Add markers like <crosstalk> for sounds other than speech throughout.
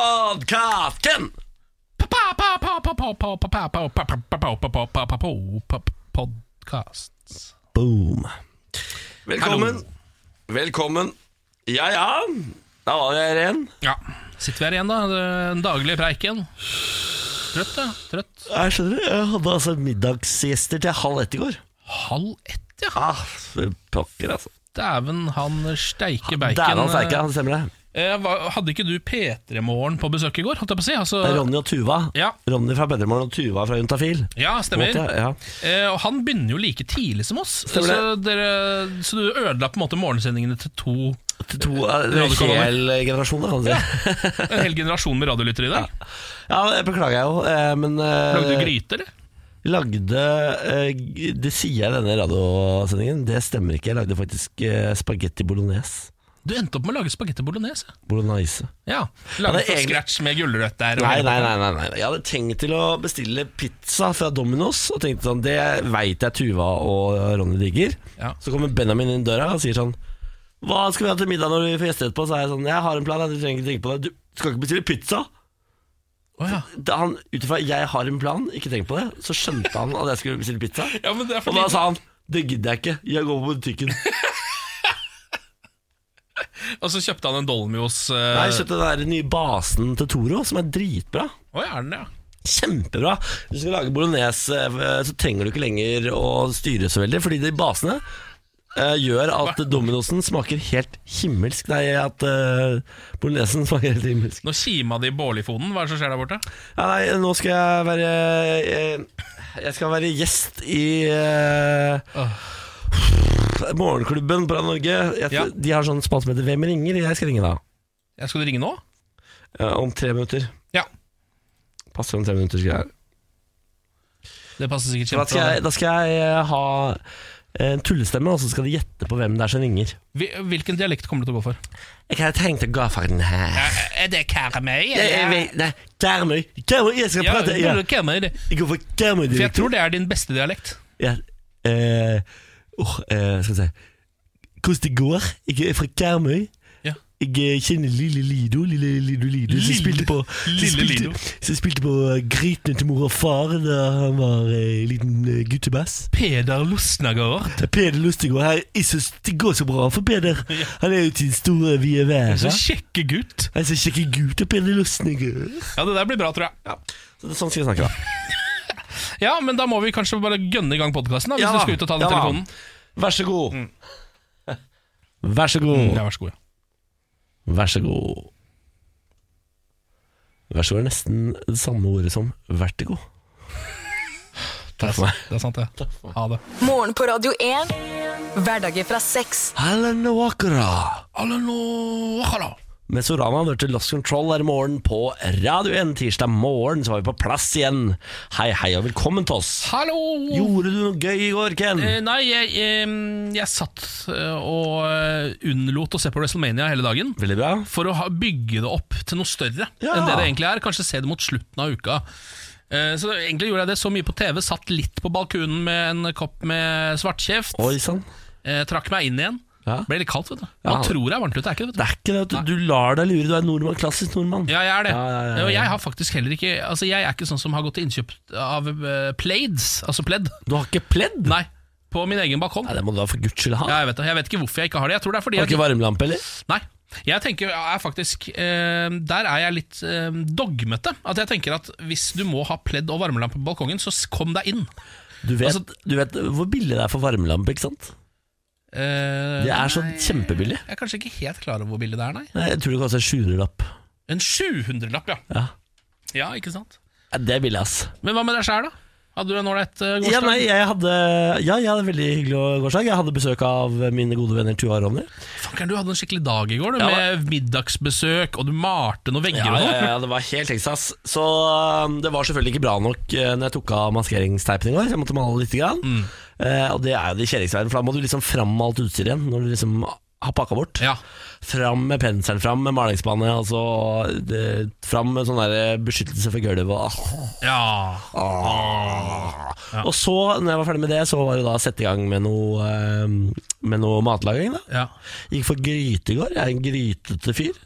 Podkasten! Podkast. Boom. Velkommen. Velkommen. Ja, ja. Da var vi her igjen. Ja, sitter vi her igjen, da. Den daglige preiken. Trøtt, da. Trøtt. Jeg skjønner. Jeg hadde altså middagsgjester til halv ett i går. Halv ett, ja. Ah, for pokker, altså. Dæven, han steike bacon. Dæven han steike, han stemmer det. Eh, hva- Hadde ikke du P3-morgen på besøk i går, holdt jeg på å si? Altså, Det er Ronny og Tuva. Ja. Ronny fra Bedremorgen og Tuva fra Juntafil. ja, stemmer. Måtte jeg- ja. Eh, og han begynner jo like tidlig som oss, Stemmer så, dere, så du ødela på en måte morgensendingene til to Til To, eh, det er en Radiokanaler. hel generasjon, da, kan du si. En hel generasjon med radiolyttere i dag. Ja, det beklager jeg jo, eh, men eh, Lagde du gryte, eller? Lagde eh, g- Det sier jeg i denne radiosendingen, det stemmer ikke. Jeg lagde faktisk eh, spagetti bolognese. Du endte opp med å lage spagetti bolognese. Bolognese. Ja, Lage det er fra egentlig- scratch med gulrøtter. og Nei, hele nei, nei, nei, nei. Jeg hadde tenkt til å bestille pizza fra Domino's, og tenkte sånn Det veit jeg Tuva og Ronny digger. Ja. Så kommer Benjamin inn døra og sier sånn Hva skal vi ha til middag når vi får gjester etterpå? Så er jeg sånn Jeg har en plan, jeg, du trenger ikke tenke på det. Du skal ikke bestille pizza. Å, ja. Da han ut ifra 'jeg har en plan', ikke tenk på det, så skjønte han at jeg skulle bestille pizza. ja, men det er Og fordi da sa han 'det gidder jeg ikke, jeg går på butikken'. Og så kjøpte han en Dolmios uh, Nei, Jeg kjøpte den der nye basen til Toro, som er dritbra. Å, ja, er den det, ja? Kjempebra. Hvis du skal lage bolognese, eh, så trenger du ikke lenger å styre så veldig, fordi de basene eh, gjør at dominosen smaker helt himmelsk. Nei, at eh, bolognesen smaker helt himmelsk. Nå kima det i bårlifonen. Hva er det som skjer der borte? Ja, nei, nå skal jeg være eh, Jeg skal være gjest i eh, Morgenklubben på Radio Norge. Jeg, Ja. De har sånn spalte som heter 'Hvem ringer?' Jeg skal ringe da. Ja, skal du ringe nå? eh, om tre minutter. Ja. Passer om tre minutter, skal jeg. Det passer sikkert Da skal jeg, kjempebra. da skal jeg eh, ha eh, en tullestemme, og så skal de gjette på hvem det er som ringer. Hvil- Hvilken dialekt kommer du til å gå for? Jeg har tenkt å gå for den her. Er eh, det Karmøy? Jeg, jeg vet, nei, Karmøy. Karmøy, jeg skal prate. Ja. Jeg går for Karmøy. For jeg tror det er din beste dialekt. Ja. eh, åh, eh, skal vi se. Hvordan det går? Jeg er fra Karmøy. Ja. Jeg eh, kjenner lille Lido, lille Lido Lido, som Lille- spilte på, som Lille Lido. spilte, som spilte på eh, Grytene til mor og far da han var eh, liten eh, guttebass. Peder Losnagård. Det er Peder Lustigård her. Jeg synes det går så bra for Peder. Han er jo til den store vide verden. Så kjekke gutt. Han er så kjekk gutt og Peder Lustigård. Ja, det der blir bra, tror jeg. Så det er sånn skal vi snakke, da. Ja, men da må vi kanskje bare gønne i gang podkasten, hvis Ja du da, skal ut og ta den ja da. telefonen. <laughs> Vær så god. Vær så god. Ja, vær så god. ja. Vær så god. Vær så god er nesten det samme ordet som vertigo. Det er for meg. sant, det. Er sant, det. Ha det. Morgen på Radio 1. Hverdager fra seks. Alan Walkera. Alle nå, hallo. Mesorama hørte Lost Control her i morgen på Radio 1. Tirsdag morgen så var vi på plass igjen. Hei, hei, og velkommen til oss. Hallo! Gjorde du noe gøy i går, Ken? Eh, Nei, jeg, eh, jeg satt eh, og eh, unnlot å se på WrestleMania hele dagen. Veldig bra. For å ha, bygge det opp til noe større Ja. enn det det egentlig er. Kanskje se det mot slutten av uka. Eh, Så egentlig gjorde jeg det så mye på TV. Satt litt på balkonen med en kopp med svartkjeft. Oi sann. eh, Trakk meg inn igjen. Ja. Ble litt kaldt, vet du. Ja. Man tror det er varmt ute, er ikke det? vet du Det er ikke det, vet du. Du lar deg lure. Du er nordmann, klassisk nordmann. Ja, jeg er det. Ja, ja, ja, ja. Og jeg har faktisk heller ikke Altså, jeg er ikke sånn som har gått til innkjøp av eh, plaids, altså <laughs> pledd. Du har ikke pledd? Nei, på min egen balkong. Nei, det må du da for guds skyld ha. Ja, jeg vet det. Jeg vet ikke hvorfor jeg ikke har det. Jeg tror det er fordi Har du jeg ikke varmelampe, eller? Nei. Jeg tenker jeg er faktisk eh, Der er jeg litt eh, dogmete. At jeg tenker at hvis du må ha pledd og varmelampe på balkongen, så s- kom deg inn. Du vet, Altså- du vet hvor billig det er for varmelampe, ikke sant? Eh, Det er så nei, kjempebillig. Jeg er kanskje ikke helt klar over hvor billig det er, nei. Nei, Jeg tror det koster en sjuerlapp. En 700-lapp, ja. Ja. Ja, ikke sant. Ja, Det er billig, ass. Men hva med deg sjæl, da? Hadde du en ålreit eh, Ja, gårsdag? nei, jeg hadde Ja, jeg hadde en veldig hyggelig gårsdag. Jeg hadde besøk av mine gode venner Tua og Ronny. Fankeren, du hadde en skikkelig dag i går, du, Ja, med middagsbesøk, og du malte noen vegger Ja, og sånn. ja, noe. ja, det var helt Texas. Så um, det var selvfølgelig ikke bra nok eh, Når jeg tok av maskeringsteipen i går. så Jeg måtte male litt. Grann. Mm. Eh, og det er jo det kjedeligste i verden, for da må du liksom fram med alt utstyret igjen. Når du liksom har pakka bort. Ja. Fram med penselen, fram med malingsspannet, altså, det- fram med sånn der beskyttelse for gulvet. Og, ah. Ja. og så, når jeg var ferdig med det, så var det da å sette i gang med noe, eh, med noe matlaging. da ja. Gikk for gryte i går. Jeg er en grytete fyr.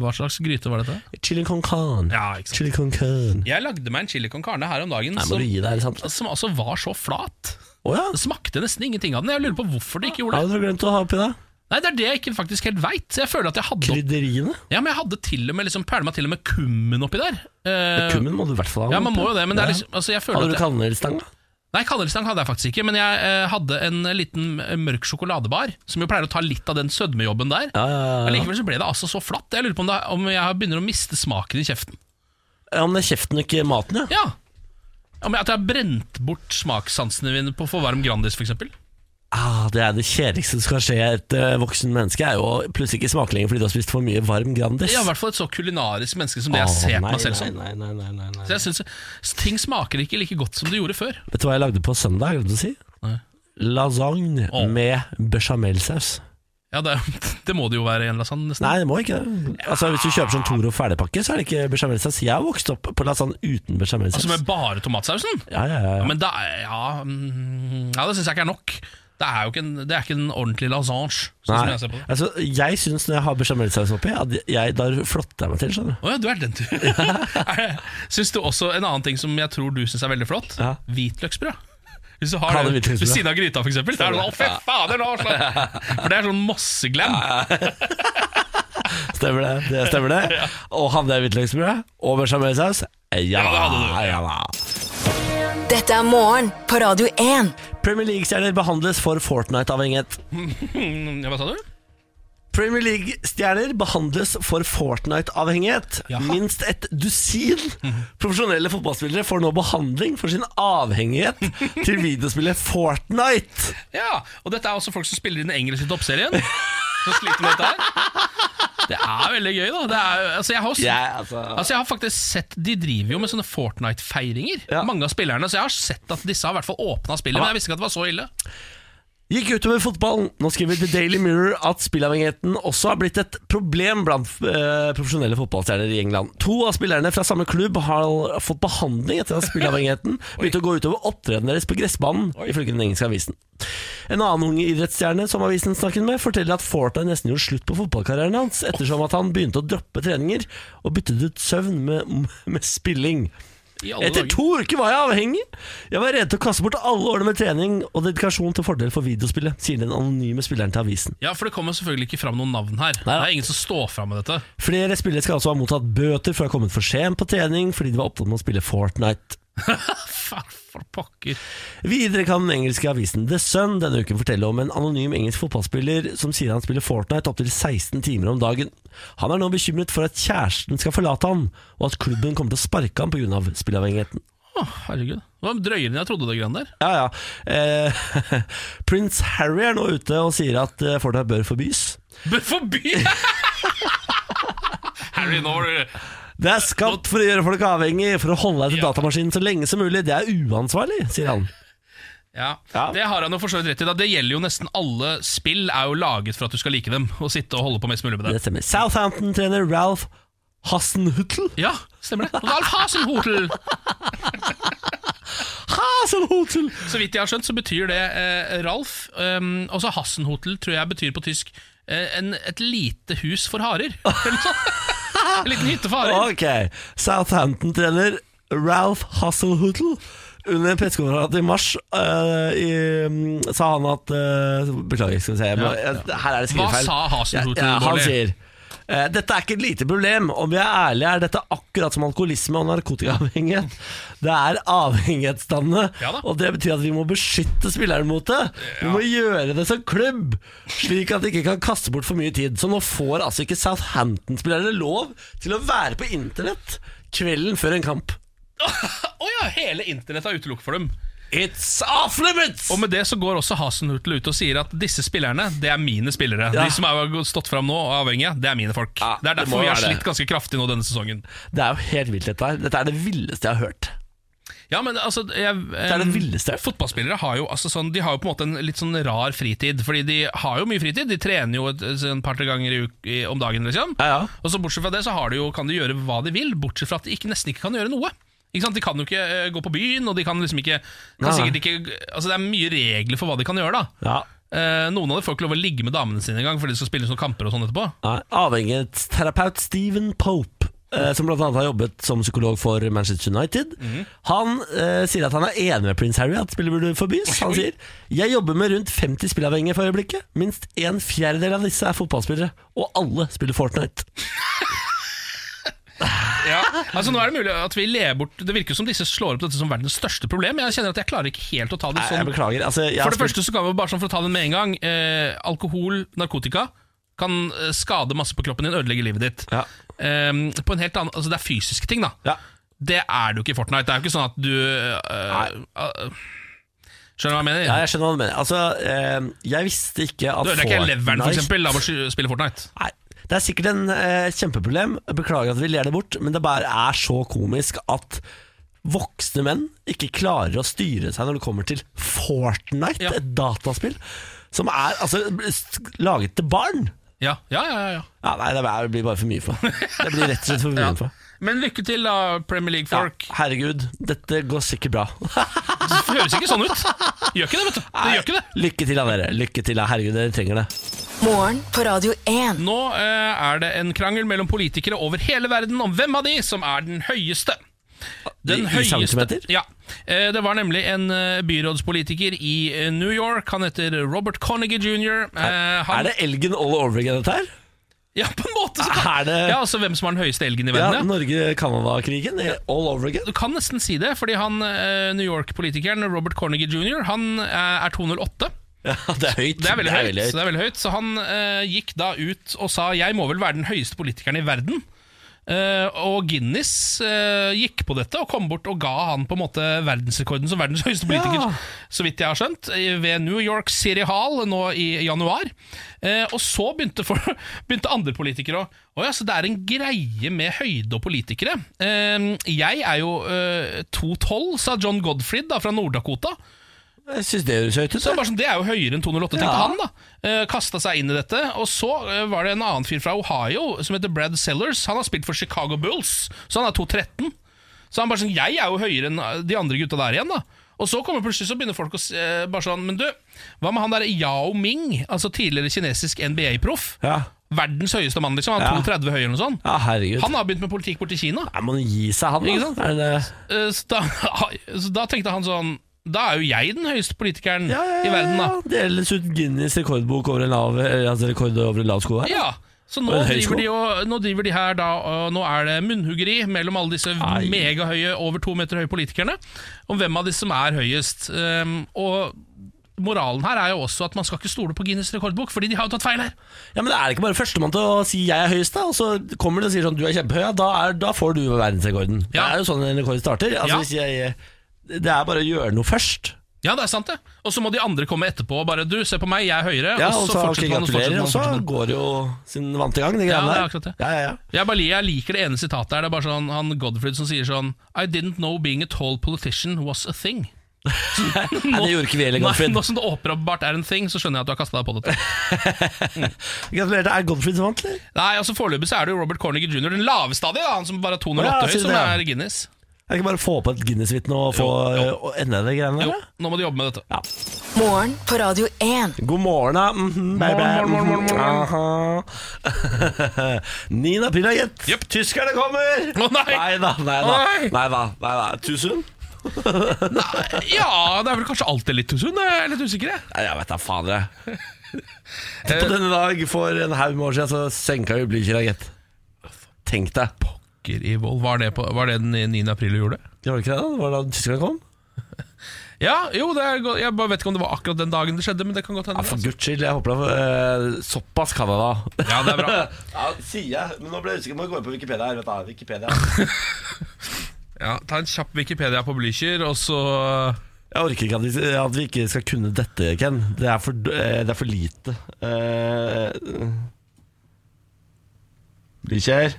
Hva slags gryte var dette? Chili con can. Ja, ikke sant. Chili con can. Jeg lagde meg en chili con carne her om dagen Nei, må som, du gi deg, er det sant? som altså var så flat. Å ja. Det smakte nesten ingenting av den. Jeg lurer på hvorfor det ikke gjorde det. Hadde du glemt å ha oppi deg? Nei, Det er det jeg ikke faktisk helt veit. Jeg føler at jeg hadde opp- Krydderiene? Ja, men jeg hadde til og med liksom pælma til og med kummen oppi der. Eh, Kummen må du i hvert fall ha. ja, man må jo oppi. det, men det er Ja. liksom altså, jeg føler Hadde du at jeg, kanelstang? da? Nei, kanelstang hadde jeg faktisk ikke, men jeg eh, hadde en liten eh, mørk sjokoladebar, som jo pleier å ta litt av den sødmejobben der. Ja, ja, ja, ja. Allikevel så ble det altså så flatt. Jeg lurer på om, det, om jeg begynner å miste smaken i kjeften. ja, men det er kjeften, ikke maten, ja. Ja. Om jeg, at jeg har brent bort smakssansene mine på for varm Grandis, f.eks. Ah, det er det kjedeligste som kan skje et eh, voksen menneske, er jo å plutselig ikke smake lenger fordi du har spist for mye varm Grandis. Jeg er i hvert fall et så kulinarisk menneske som det Åh, jeg ser på nei, meg selv som. Nei, nei, nei, nei, nei. Så jeg synes Ting smaker ikke like godt som det gjorde før. Vet du hva jeg lagde på søndag? jeg Glemte å si? Nei. Lasagne Åh. med bechamelsaus. Ja, Det, det må det jo <laughs> være i en lasagne, nesten. Nei, det må ikke det. Altså, hvis du kjøper sånn Toro ferdigpakke, så er det ikke bechamelsaus. Jeg har vokst opp på lasagne uten bechamelsaus. Altså med bare tomatsausen? Ja, ja, ja. Ja, men da, ja, mm, ja, det syns jeg ikke er nok. Det er jo ikke en, det er ikke en ordentlig lasagne. Sånn som Nei. jeg ser på det. Altså, jeg syns når jeg har bechamelsaus oppi, at jeg, da flotter jeg meg til. skjønner du Å ja, du er den du <laughs> Er det- Syns du også en annen ting som jeg tror du syns er veldig flott? Ja. Hvitløksbrød. Hvis du har Ha det det ved hvitløksbrød. siden av gryta, for eksempel. Da er det sånn, å, fy fader, nå slapp For det er sånn mosseglam. Stemmer det? det stemmer <laughs> det Og hadde jeg hvitløksbrød og bechamelsaus? Ja, Ja, det hadde du. da, ja da. Dette er morgen på Radio 1. Premier League-stjerner behandles for Fortnite-avhengighet. Mm, Hva sa du? Premier League-stjerner behandles for Fortnite-avhengighet. Jaha. Minst et dusin profesjonelle fotballspillere får nå behandling for sin <laughs> avhengighet til videospillet Fortnite. Ja, og dette er også folk som spiller i den engelske toppserien. Som sliter med dette her. Det er veldig gøy, da. Det er, altså, jeg, har også, Jeg, altså, altså, jeg har faktisk sett De driver jo med sånne Fortnite-feiringer, Ja. mange av spillerne. Så jeg har sett at disse har i hvert fall åpna spillet, men jeg visste ikke at det var så ille. gikk utover fotballen. Nå skriver The Daily Mirror at spillavhengigheten også har blitt et problem blant eh, profesjonelle fotballstjerner i England. To av spillerne fra samme klubb har fått behandling etter at spillavhengigheten begynte å gå utover opptredenen deres på gressbanen, ifølge den engelske avisen. En annen unge idrettsstjerne som avisen snakket med, forteller at Fortnite nesten gjorde slutt på fotballkarrieren hans, ettersom at han begynte å droppe treninger og byttet ut søvn med, <laughs> med spilling. I alle Etter dager. to uker var jeg avhengig. Jeg var redd til å kaste bort alle årene med trening og dedikasjon til fordel for videospillet, sier den anonyme spilleren til avisen. Ja, for det kommer selvfølgelig ikke fram noen navn her. Nei, Det da. er ingen som står fram med dette. Flere spillere skal altså ha mottatt bøter for å ha kommet for sent på trening fordi de var opptatt med å spille Fortnite. Faen, for pokker. Videre kan den engelske avisen The Sun denne uken fortelle om en anonym engelsk fotballspiller som sier han spiller Fortnite opptil 16 timer om dagen. Han er nå bekymret for at kjæresten skal forlate han, og at klubben kommer til å sparke ham pga. spillavhengigheten. Å, herregud. Det var drøyere enn jeg trodde, det greiene der. Ja, ja. Eh, <laughs> Prins Harry er nå ute og sier at eh, Fortnite bør forbys. Bør forby! <laughs> Harry, nå var du Det er skapt for å gjøre folk avhengig, for å holde deg til Ja. datamaskinen så lenge som mulig. Det er uansvarlig, sier han. Ja, Ja. Det har han jo for så vidt rett i. da Det gjelder jo nesten alle spill er jo laget for at du skal like dem. Og sitte og holde på mest mulig med Det det. stemmer. Southampton-trener Ralph Hassenhutel Ja, stemmer det. Ralf Hasenhotel! Hasenhutel! Så vidt jeg har skjønt, så betyr det eh, Ralf. Um, og så Hasenhotel tror jeg betyr på tysk eh, en, et lite hus for <laughs> harer. Eller noe sånt. en liten hytte for harer. Ok. Southampton-trener Ralph Hassenhutel under en pressekonferanse i mars eh, i, mm, sa han at eh, Beklager, skal vi se. Jeg må, Ja, jeg, her er det Hva skrivefeil. sa Hasenhotel, Ja, ja, han Bårdli? sier eh, dette er ikke et lite problem. Om jeg er ærlig, er dette akkurat som alkoholisme og narkotikaavhengighet. Det er avhengighetsdannende, Ja da. og det betyr at vi må beskytte spilleren mot det. Vi må gjøre det som klubb, slik at de ikke kan kaste bort for mye tid. Så nå får altså ikke Southampton-spillere lov til å være på internett kvelden før en kamp. Å ja, hele internett er utelukket for dem. It's off limits! Og med det så går også Hasenhutel ut og sier at disse spillerne, det er mine spillere. Ja. De som har stått fram nå og er avhengige, det er mine folk. Ja, det er det må derfor vi har være det. slitt ganske kraftig nå denne sesongen. Det er jo helt vilt, dette her. Dette er det villeste jeg har hørt. Ja, men altså jeg, Det er det villeste. Fotballspillere har jo, altså, sånn, de har jo på en måte en litt sånn rar fritid. Fordi de har jo mye fritid. De trener jo et, et par-tre ganger i uk i, om dagen, liksom. Ja, ja. Og så Bortsett fra det så har de jo, kan de gjøre hva de vil, bortsett fra at de ikke, nesten ikke kan gjøre noe. Ikke sant? De kan jo ikke eh, gå på byen, og de kan liksom ikke, kan Nei, nei. sikkert ikke Altså Det er mye regler for hva de kan gjøre. da Ja. Eh, noen av dem får ikke lov å ligge med damene sine engang fordi de skal spille sånne kamper og sånn etterpå. Nei, Avhengighetsterapeut Stephen Pope, eh, som bl.a. har jobbet som psykolog for Manchester United, Mhm. han eh, sier at han er enig med prins Harry at spillet burde forbys. Han sier jeg jobber med rundt 50 spillavhengige for øyeblikket. Minst en fjerdedel av disse er fotballspillere, og alle spiller Fortnite. Ja. Altså nå er det mulig at vi ler bort Det virker som disse slår opp dette som verdens største problem. Jeg kjenner at jeg klarer ikke helt å ta det Nei, sånn. jeg beklager. Altså, jeg har For det spilt- første så kan vi bare sånn for å ta den med en gang eh, Alkohol, narkotika kan eh, skade masse på kroppen din, ødelegge livet ditt. Ja. Eh, på en helt annen, altså Det er fysiske ting, da. Ja. Det er du ikke i Fortnite. Det er jo ikke sånn at du eh, eh, Skjønner du hva jeg mener? Ja, jeg skjønner hva du mener. Altså, eh, jeg visste ikke at Du ødelegger ikke leveren, for Fortnite- eksempel, av å sky- spille Fortnite. Nei, det er sikkert en eh, kjempeproblem. Beklager at vi ler det bort, men det bare er så komisk at voksne menn ikke klarer å styre seg når det kommer til Fortnite, Ja. et dataspill som er altså, s- laget til barn. Ja, ja, ja, ja, ja. Ja, nei, det er- det blir bare for mye for. Det blir rett og slett for mye for. Men lykke til, da, Premier Ja, League-folk. herregud, dette går sikkert bra. Det høres ikke sånn ut. Gjør ikke det, vet du. Det gjør ikke det. Lykke til, da, dere. Lykke til, da. Herregud, dere trenger det. Morgen på Radio 1. Nå eh, er det en krangel mellom politikere over hele verden om hvem av de som er den høyeste. I- i centimeter? Ja. Eh, Det var nemlig en eh, byrådspolitiker i eh, New York. Han heter Robert Connigy jr. Eh, han- Er det elgen all over again, dette her? Ja, på en måte! Så Er det- Ja, altså Hvem som har den høyeste elgen i Ja, verden? Ja. Norge-Canada-krigen eh, all over again. Du kan nesten si det, fordi han eh, New York-politikeren Robert Cornigy jr. Han eh, er 208. Ja, det er høyt. Det er veldig høyt. Så, det er veldig høyt. så han eh, gikk da ut og sa Jeg må vel være den høyeste politikeren i verden. Eh, og Guinness eh, gikk på dette og kom bort og ga han på en måte verdensrekorden som verdens <laughs> høyeste politiker, Ja. så vidt jeg har skjønt, i- ved New York City Hall nå i januar. Eh, og så begynte, for, <laughs> begynte andre politikere å Å ja, så det er en greie med høyde og politikere. Eh, jeg er jo eh, 2,12, sa John Godfried da, fra Nord-Dakota. Jeg syns det høres høyt ut. Så da. bare sånn, Det er jo høyere enn 208, tenkte Ja. han. da eh, Kasta seg inn i dette. Og så eh, var det en annen fyr fra Ohio som heter Brad Sellers. Han har spilt for Chicago Bulls, så han er 213. Så han bare sånn Jeg er jo høyere enn de andre gutta der igjen, da. Og så kommer plutselig så begynner folk å s- eh, bare sånn Men du, hva med han derre Yao Ming, altså tidligere kinesisk NBA-proff? Ja. Verdens høyeste mann, liksom. Han Ja. er 2,30 høy eller noe sånt. ja, herregud. Han har begynt med politikk borti Kina. Nei, må han gi seg, han, da. Ikke sant? Er det... Eh, Så da, <laughs> så da tenkte han sånn Da er jo jeg den høyeste politikeren ja, ja, ja, i verden, da. ja. Deles ut Guinness rekordbok over en lav, eh, altså rekord over en lav sko her. Ja, så nå Og en høy sko. driver, de jo, nå driver de her da, og nå er det munnhuggeri mellom alle disse Nei. megahøye, over to meter høye politikerne, om hvem av de som er høyest. Um, og moralen her er jo også at man skal ikke stole på Guinness rekordbok, fordi de har jo tatt feil her. Ja, Men det er det ikke bare førstemann til å si 'jeg er høyest', da, og så kommer de og sier sånn 'du er kjempehøy', ja, da, er, da får du verdensrekorden. Ja. Det er jo sånn en rekord starter. Altså, Ja. hvis jeg, det er bare å gjøre noe først. Ja, det er sant det. Og så må de andre komme etterpå og bare, du, se på meg, jeg er høyere, Ja, og så ok, fortsetter man og fortsetter gratulerer, man. og så fortsetter man. går jo sin vante gang, de Ja, greiene det er der. akkurat det. Ja, <laughs> ja, ja. Jeg, bare, jeg liker det ene sitatet her, det er bare sånn, han Godfried som sier sånn, I didn't know being a tall politician was a thing. Nei, det gjorde ikke vi heller, Godfrid. Nei, nå som det åpenbart er en thing, så skjønner jeg at du har kasta deg på dette. Gratulerer. Er Godfrid som vant, eller? Nei, altså Foreløpig så er det jo Robert Corniger jr., den laveste av de, da, han som bare er 208 Ja, høy, sier som det, ja. er Guinness. Jeg kan bare få på et Guinness-vitne og få eh, og ende de greiene der. Jo, da? nå må de jobbe med dette. Ja. Morgen på Radio 1. God morgen, da. Mhm, baby. Morgen, morgen, morgen, morgen, morgen. <laughs> 9. april, da, gitt. Jep. Tyskerne kommer! Å, nei. Nei da, nei da. Nei. Nei da, nei da. Too soon? Ja, det er vel kanskje alltid litt tusen, jeg er litt usikker, jeg. Nei, jeg vet da fader. jeg. <laughs> Eh. På denne dag for en haug med år siden så senka vi Blücher, da, gitt. Tenk deg. Pokker i vold, var det, på, var det den 9. april du gjorde? Det var ikke det, da? Det var da tyskerne kom? Ja, jo, det er, godt- jeg bare vet ikke om det var akkurat den dagen det skjedde, men det kan godt hende. altså. Ja, for guds skyld. Jeg håper det var eh, såpass Canada. Ja, det er bra. <laughs> ja, sier jeg. Men nå ble jeg usikker. Må gå inn på Wikipedia her. Vet du. Wikipedia. Ja, ta en kjapp Wikipedia på Blücher, og så Jeg orker ikke at vi, at vi ikke skal kunne dette, Ken. Det er for, eh, det er for lite. Uh, Blykjær.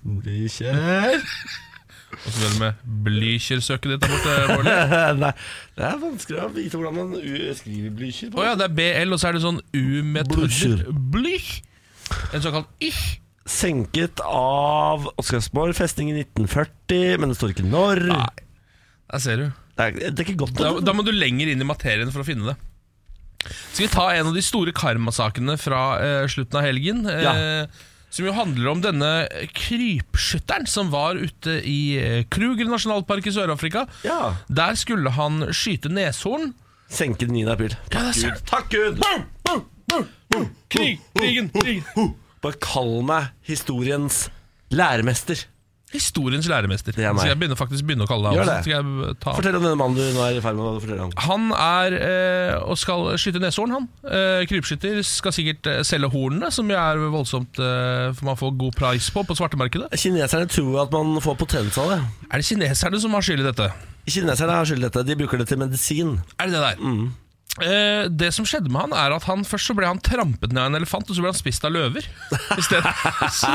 Blykjær Og så det med Blücher-søket ditt der borte, Bårdli. <laughs> Nei, det er vanskelig å vite hvordan man u- skriver Blykjær. Å ja, det er BL, og så er det sånn U med Blücher. tødder. Blüch. En såkalt ich. Senket av Oscarsborg festning i 1940, men det står ikke når. Nei. Der ser du. Det, er, det er ikke godt. Da, da må du lenger inn i materien for å finne det. Skal vi ta en av de store karmasakene fra eh, slutten av helgen? eh, Ja. Som jo handler om denne krypskytteren som var ute i eh, Kruger nasjonalpark i Sør-Afrika. Ja. Der skulle han skyte neshorn. Senke den 9. april. Takk det er Gud. Takk Gud. Krig, krigen, krigen. Bare kall meg historiens læremester. Historiens læremester. er meg. Så jeg begynner faktisk begynne å kalle deg Gjør også. det. Skal jeg eh, ta Fortell om denne mannen du nå er i ferd med å fortelle om. Han er eh, og skal skyte neshorn, han. Eh, krypskytter skal sikkert eh, selge hornene, som jo er voldsomt eh, for man får god pris på på svartemarkedet. Kineserne tror at man får potens av det. Er det kineserne som har skyld i dette? Kineserne har skyld i dette. De bruker det til medisin. Er det det der? Eh, det som skjedde med han, er at han først så ble han trampet ned av en elefant, og så ble han spist av løver. I stedet. <laughs> så,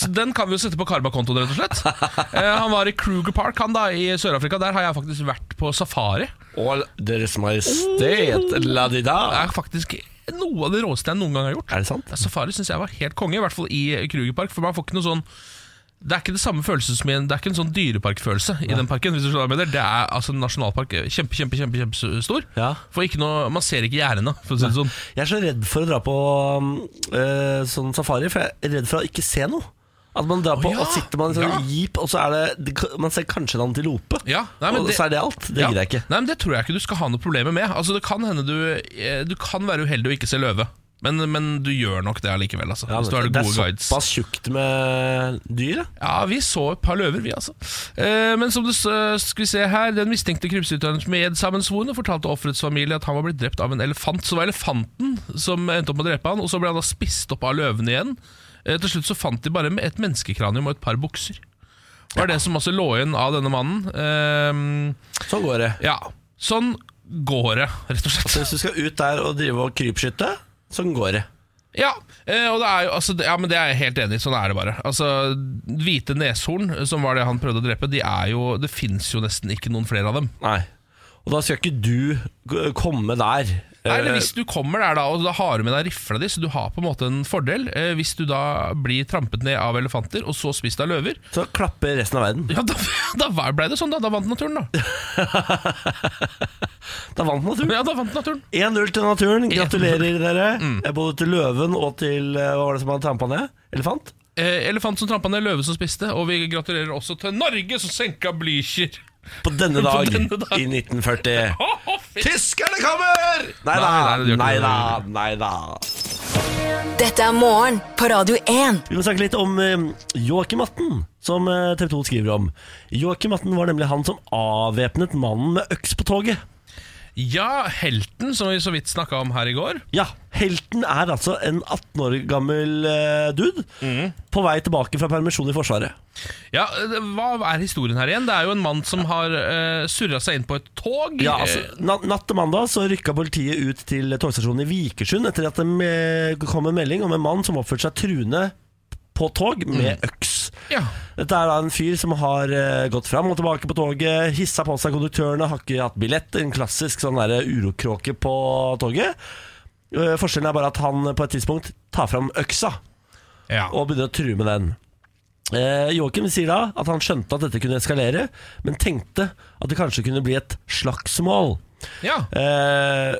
så den kan vi jo sette på Karba-kontoen, rett og slett. Eh, han var i Kruger Park, han da, i Sør-Afrika. Der har jeg faktisk vært på safari. All Deres Majestet la di Det da. er faktisk noe av det råeste jeg noen gang har gjort. Er det sant? Ja, Safari syns jeg var helt konge, i hvert fall i Krugerpark. For man får ikke noe sånn det er ikke det samme følelsen som i en, Det er ikke en sånn dyreparkfølelse i den parken. hvis du skjønner hva jeg mener. Det er altså en nasjonalpark eh, kjempe, kjempe, kjempe, kjempestor. Ja. For ikke noe, Man ser ikke gjerdene, for å si det sånn. Jeg er så redd for å dra på eh, sånn safari, for jeg er redd for å ikke se noe. At man drar på, ja. og sitter man i sånn Ja. jeep, og så er det, det Man ser kanskje en antilope, Ja, nei, men og det- så er det alt. Det Ja. gidder jeg ikke. Nei, men Det tror jeg ikke du skal ha noe problemer med. Altså, Det kan hende du eh, Du kan være uheldig og ikke se løve, men, men du gjør nok det allikevel. Altså, Ja, hvis du har det er gode guides. såpass tjukt med dyr. ja. Ja, vi så et par løver, vi altså. Eh, men som du s- skal vi se her, den mistenkte krypskytteren som med sammensvorne fortalte offerets familie at han var blitt drept av en elefant. Så det var elefanten som endte opp med å drepe han, og så ble han da spist opp av løvene igjen. Eh, til slutt så fant de bare et menneskekranium og et par bukser. Det var det som altså lå igjen av denne mannen. Sånn går det. Eh, ja, sånn går det, rett og slett. Så hvis du skal ut der og drive og krypskytte, sånn går det. Ja, eh, og det er jo, altså, det- ja, men det er jeg helt enig i. Sånn er det bare. Altså, Hvite neshorn, eh, som var det han prøvde å drepe, de er jo, det fins jo nesten ikke noen flere av dem. Nei. Og da skal ikke du g- komme der. eh, Nei, eller Hvis du kommer der da, og da har du med deg rifla di, så du har på en måte en fordel. Eh, hvis du da blir trampet ned av elefanter, og så spist av løver, Eh, Så klapper resten av verden. ja, da, <laughs> da var- ble det sånn, da. Da vant naturen, da. Da vant naturen. Ja, Mm. da vant naturen. 1-0 til naturen. Gratulerer dere. <laughs> Eh, Både til løven og til eh, Hva var det som hadde trampa ned? Elefant? Eh, elefant som trampa ned, løve som spiste, og vi gratulerer også til Norge som senka Blücher. På denne dag, denne dag. i 1940. Å, <laughs> å, fy- Tyskerne kommer! Nei da, Nei, nei, det gjør ikke nei da, det. nei da. Dette er morgen på Radio 1. Vi må snakke litt om eh, Joakim Atten, som eh, TV 2 skriver om. Joakim Atten var nemlig han som avvæpnet mannen med øks på toget. Ja, helten som vi så vidt snakka om her i går. Ja, helten er altså en 18 år gammel eh, dude på vei tilbake fra permisjon i Forsvaret. Ja, det- Hva er historien her igjen? Det er jo en mann som har uh, surra seg inn på et tog. Ja, altså, Eh, na- Natt til mandag så rykka politiet ut til togstasjonen i Vikersund etter at det me- kom en melding om en mann som oppførte seg truende på tog med øks. ja. Dette er da en fyr som har eh, gått fram og tilbake på toget, hissa på seg konduktørene, har ikke hatt billett. En klassisk sånn derre urokråke på toget. Eh, forskjellen er bare at han på et tidspunkt tar fram øksa. ja. og begynner å true med den. Eh, Joakim sier da at han skjønte at dette kunne eskalere, men tenkte at det kanskje kunne bli et slagsmål. ja. Eh,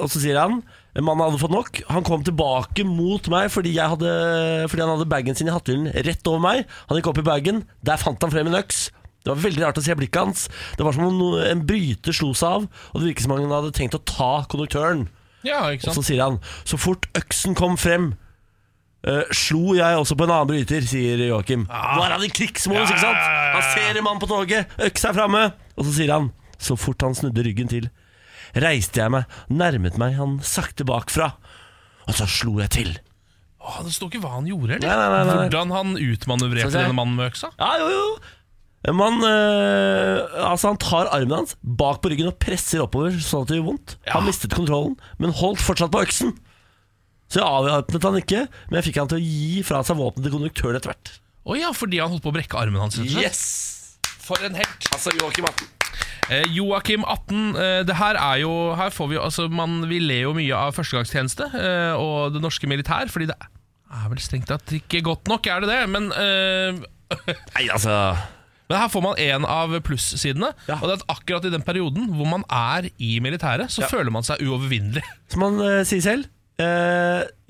og så sier han Mannen hadde fått nok. Han kom tilbake mot meg fordi, jeg hadde, fordi han hadde bagen sin i hatthyllen rett over meg. Han gikk opp i bagen. Der fant han frem en øks. Det var veldig rart å se blikket hans. Det var som om no- en bryter slo seg av, og det virket som om han hadde tenkt å ta konduktøren. ja, ikke Og sant. så sier han Så fort øksen kom frem eh, slo jeg også på en annen bryter, sier Joakim. Nå er han i krigsmodus, ikke sant? Han ser en mann på toget, øksa er framme. Og så sier han, så fort han snudde ryggen til, reiste jeg meg, nærmet meg han sakte bakfra. Og så slo jeg til. Å, det står ikke hva han gjorde, eller? Nei, nei, nei, nei. Hvordan han utmanøvrerte Skal vi se. denne mannen med øksa? Ja, jo, jo. Man, eh, altså han tar armen hans bak på ryggen og presser oppover sånn at det gjør vondt. Han mistet kontrollen, men holdt fortsatt på øksen. Så jeg avvæpnet han ikke, men jeg fikk han til å gi fra seg våpenet til konduktøren etter hvert. Å ja, fordi han holdt på å brekke armen hans. rett og slett. Yes! For en helt! Altså Joakim Atten. Eh, Joakim 18, eh, det her er jo Her får vi jo altså, man, Vi ler jo mye av førstegangstjeneste eh, og det norske militær, fordi det er vel strengt tatt ikke godt nok, er det det? Men eh, Nei, altså Men her får man en av plussidene. Ja. Og det er at akkurat i den perioden hvor man er i militæret, så føler man seg uovervinnelig. Som han eh, sier selv, eh,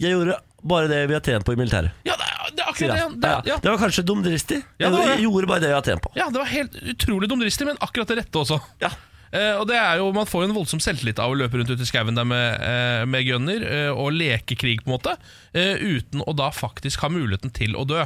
jeg gjorde bare det vi har trent på i militæret. Ja, det er, det sier er akkurat det. han. det, Ja, ja. Det var kanskje dumdristig. Ja, det var det. Jeg gjorde bare det jeg har trent på. ja, det var helt utrolig dumdristig, men akkurat det rette også. Ja. Eh, og det er jo, Man får jo en voldsom selvtillit av å løpe rundt ute i skauen der med, eh, med gunner eh, og leke krig, på en måte, eh, uten å da faktisk ha muligheten til å dø.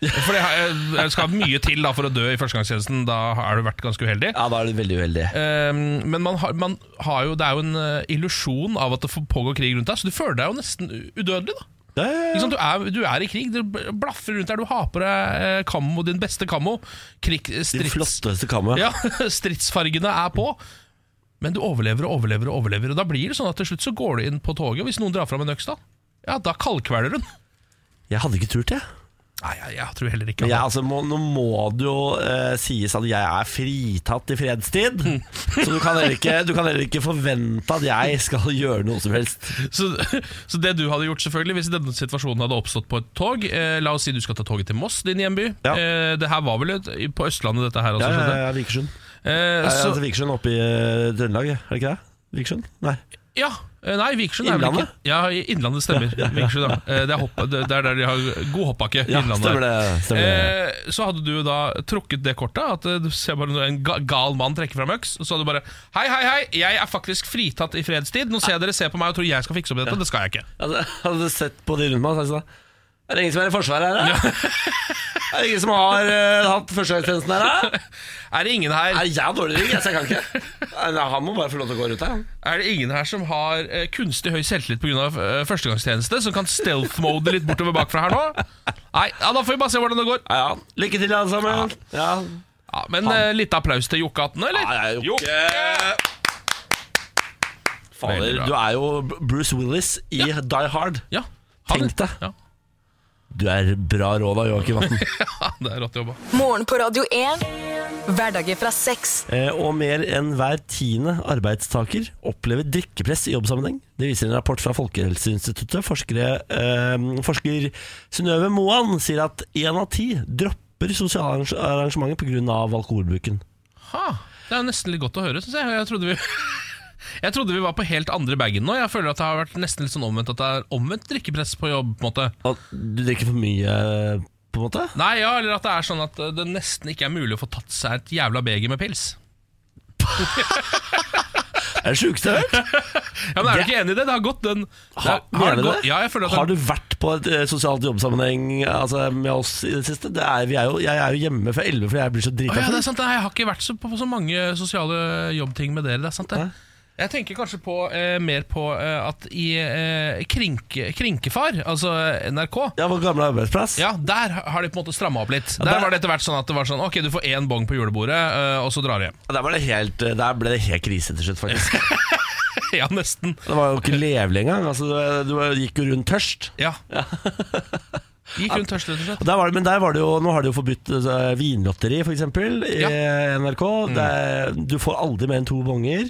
For det har- eh, skal mye til da for å dø i førstegangstjenesten. Da har du vært ganske uheldig. ja, da er du veldig uheldig. Eh, men man har, man har jo, det er jo en eh, illusjon av at det får pågå krig rundt deg, så du føler deg jo nesten udødelig. da Ja, ja, ja. ikke sant? Du, er, du er i krig, du bl- blaffer rundt der, du har på deg eh, kammo, din beste kammo. Krig, eh, Din strids, flotteste kammer. <laughs> ja, stridsfargene er på. Men du overlever og overlever, og overlever Og da blir det sånn at til slutt så går du inn på toget. Hvis noen drar fram en øks, da Ja, da kaldkveler hun. Jeg hadde ikke turt det. Nei, jeg, jeg tror heller ikke Men at- jeg, altså, må, nå må det jo eh, sies at jeg er fritatt i fredstid. Så du kan, heller ikke, du kan heller ikke forvente at jeg skal gjøre noe som helst. så, <laughs> så det du hadde gjort, selvfølgelig hvis denne situasjonen hadde oppstått på et tog eh, La oss si du skal ta toget til Moss, din hjemby. Ja. Eh, det her var vel et, på Østlandet, dette her Ja, også? ja, skjønte jeg. ja, Vikersund. Eh, Nei, så, altså, Vikersund oppe i eh, Trøndelag, er det ikke det? Vikersund? Nei. Ja, eh, nei, Vikersund er vel ikke Innlandet? Ja, i- <laughs> Innlandet stemmer. Vikersund, ja. Eh, Det er, hopp, det det er der de har god hoppbakke. Ja, Innlandet. stemmer det, stemmer det. Eh, Så hadde du jo da trukket det kortet, at eh, du ser bare en ga- gal mann trekke fram øks, og så hadde du bare Hei, hei, hei, jeg er faktisk fritatt i fredstid. Nå ser jeg dere ser på meg og tror jeg skal fikse opp i dette. Det skal jeg ikke. Jeg Altså, hadde, hadde sett på de rundt meg og sagt sånn Er det ingen som er i Forsvaret her, da? <laughs> Er det ingen som har eh, hatt førstegangstjenesten <laughs> her, da? Er det ingen her, Nei, jeg har dårlig rygg, jeg, så jeg kan ikke. Nei, han må bare få lov til å gå rundt her. han. er det ingen her som har eh, kunstig høy selvtillit pga. eh, førstegangstjeneste, som kan stealth-mode litt bortover bakfra her nå? Nei, ja, da får vi bare se hvordan det går. Ja, ja. Lykke til, alle sammen. Ja. Ja, men eh, litt applaus til Jokke-hatten, eller? Ja, ja, Jokke. Veldig Fader, bra. du er jo Bruce Willis i Die Hard. Ja, ha Tenk det. deg. Ja. <laughs> Du er bra råd av Joakim Atten. Ja, det er rått jobba. Morgen på Radio 1. Hverdager fra seks. Eh, og mer enn hver tiende arbeidstaker opplever drikkepress i jobbsammenheng. Det viser en rapport fra Folkehelseinstituttet. Forskere, eh, forsker Synnøve Moan sier at én av ti dropper sosiale arrange- arrangementer pga. alkoholbruken. Ha, det er jo nesten litt godt å høre, syns jeg. Jeg trodde vi Jeg trodde vi <laughs> var på helt andre bagen nå. Jeg føler at det har vært nesten litt sånn omvendt At det er omvendt drikkepress på jobb. på en måte At du drikker for mye, eh, på en måte? Nei, ja, Eller at det er sånn at det nesten ikke er mulig å få tatt seg et jævla beger med pils. Det er det sjukeste jeg har hørt. Ja, men Er du ikke enig i det? Det har gått den Ha, det har mener du gått- det? Ja, jeg føler at har det, du vært på et eh, sosialt jobbsammenheng altså, med oss i det siste? Det er, vi er jo, jeg er jo hjemme fra 11 fordi jeg blir så Å drita. ja, det full. er sant, Nei, Jeg har ikke vært så på, på så mange sosiale jobbting med dere. Det er sant det Nei. jeg tenker kanskje på, eh, mer på eh, at i eh, krinke, Krinkefar, altså NRK, ja, vår gamle arbeidsplass. Ja, der har de på en måte stramma opp litt. der- Der var det etter hvert sånn at det var sånn Ok, du får én bong på julebordet, øh, og så drar du hjem. Der, var det helt, eh, der ble det helt krise til slutt, <laughs> faktisk. ja, nesten. Det var jo ikke levelig engang. Altså, du, du gikk jo rundt tørst. Ja. Gikk rundt tørst, rett og slett. Og Der var det, men der var det jo, nå har de jo forbudt eh, vinlotteri, f.eks., i Ja. Mm. eh, NRK. Det er, du får aldri mer enn to bonger.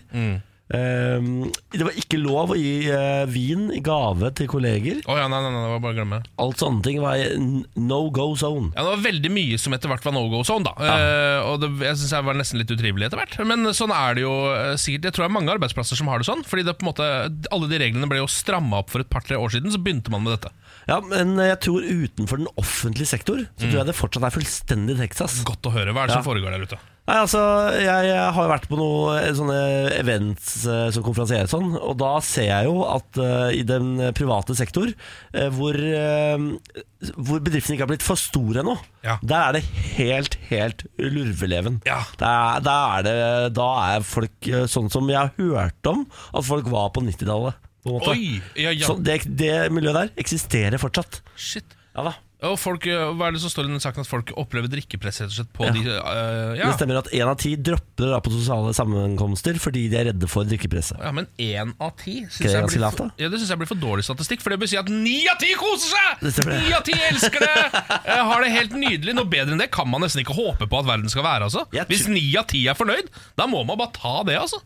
Eh, det var ikke lov å gi eh, vin i gave til kolleger. Å ja, nei, nei, nei, det var bare å glemme. Alt sånne ting var i n- no go zone. Ja, Det var veldig mye som etter hvert var no go zone, da. Eh, og det, jeg syns jeg var nesten litt utrivelig etter hvert. Men sånn er det jo eh, sikkert. Jeg tror det er mange arbeidsplasser som har det sånn. Fordi det på en måte, alle de reglene ble jo stramma opp for et par-tre år siden, så begynte man med dette. Ja, men jeg tror utenfor den offentlige sektor Så Mm. tror jeg det fortsatt er fullstendig Texas Godt å høre. Hva er det Ja. som foregår der ute? Nei, altså, jeg, jeg har jo vært på noen sånne events eh, som konferansierer og sånn Og da ser jeg jo at eh, i den private sektor eh, hvor, eh, hvor bedriften ikke har blitt for stor ennå Ja. Der er det helt, helt lurveleven Ja. Der- der er det, Da er folk eh, sånn som jeg har hørt om At folk var på 90-tallet på en måte. Oi! Ja, ja. Så det, det miljøet der eksisterer fortsatt Shit. Ja da Og folk, øh, Hva er det som står i den saken at folk opplever drikkepress rett og slett på de øh, ja. Det stemmer at én av ti dropper da på sosiale sammenkomster fordi de er redde for drikkepresset. ja, men én av ti synes Ikke det jeg ganske blir lavt, for- da? ja, Det syns jeg blir for dårlig statistikk, for det betyr at ni av ti koser Det seg! stemmer det. Ni av ti elsker det! eh, Har det helt nydelig. Noe bedre enn det kan man nesten ikke håpe på at verden skal være. altså Jeg tror- Hvis ni av ti er fornøyd, da må man bare ta det, altså.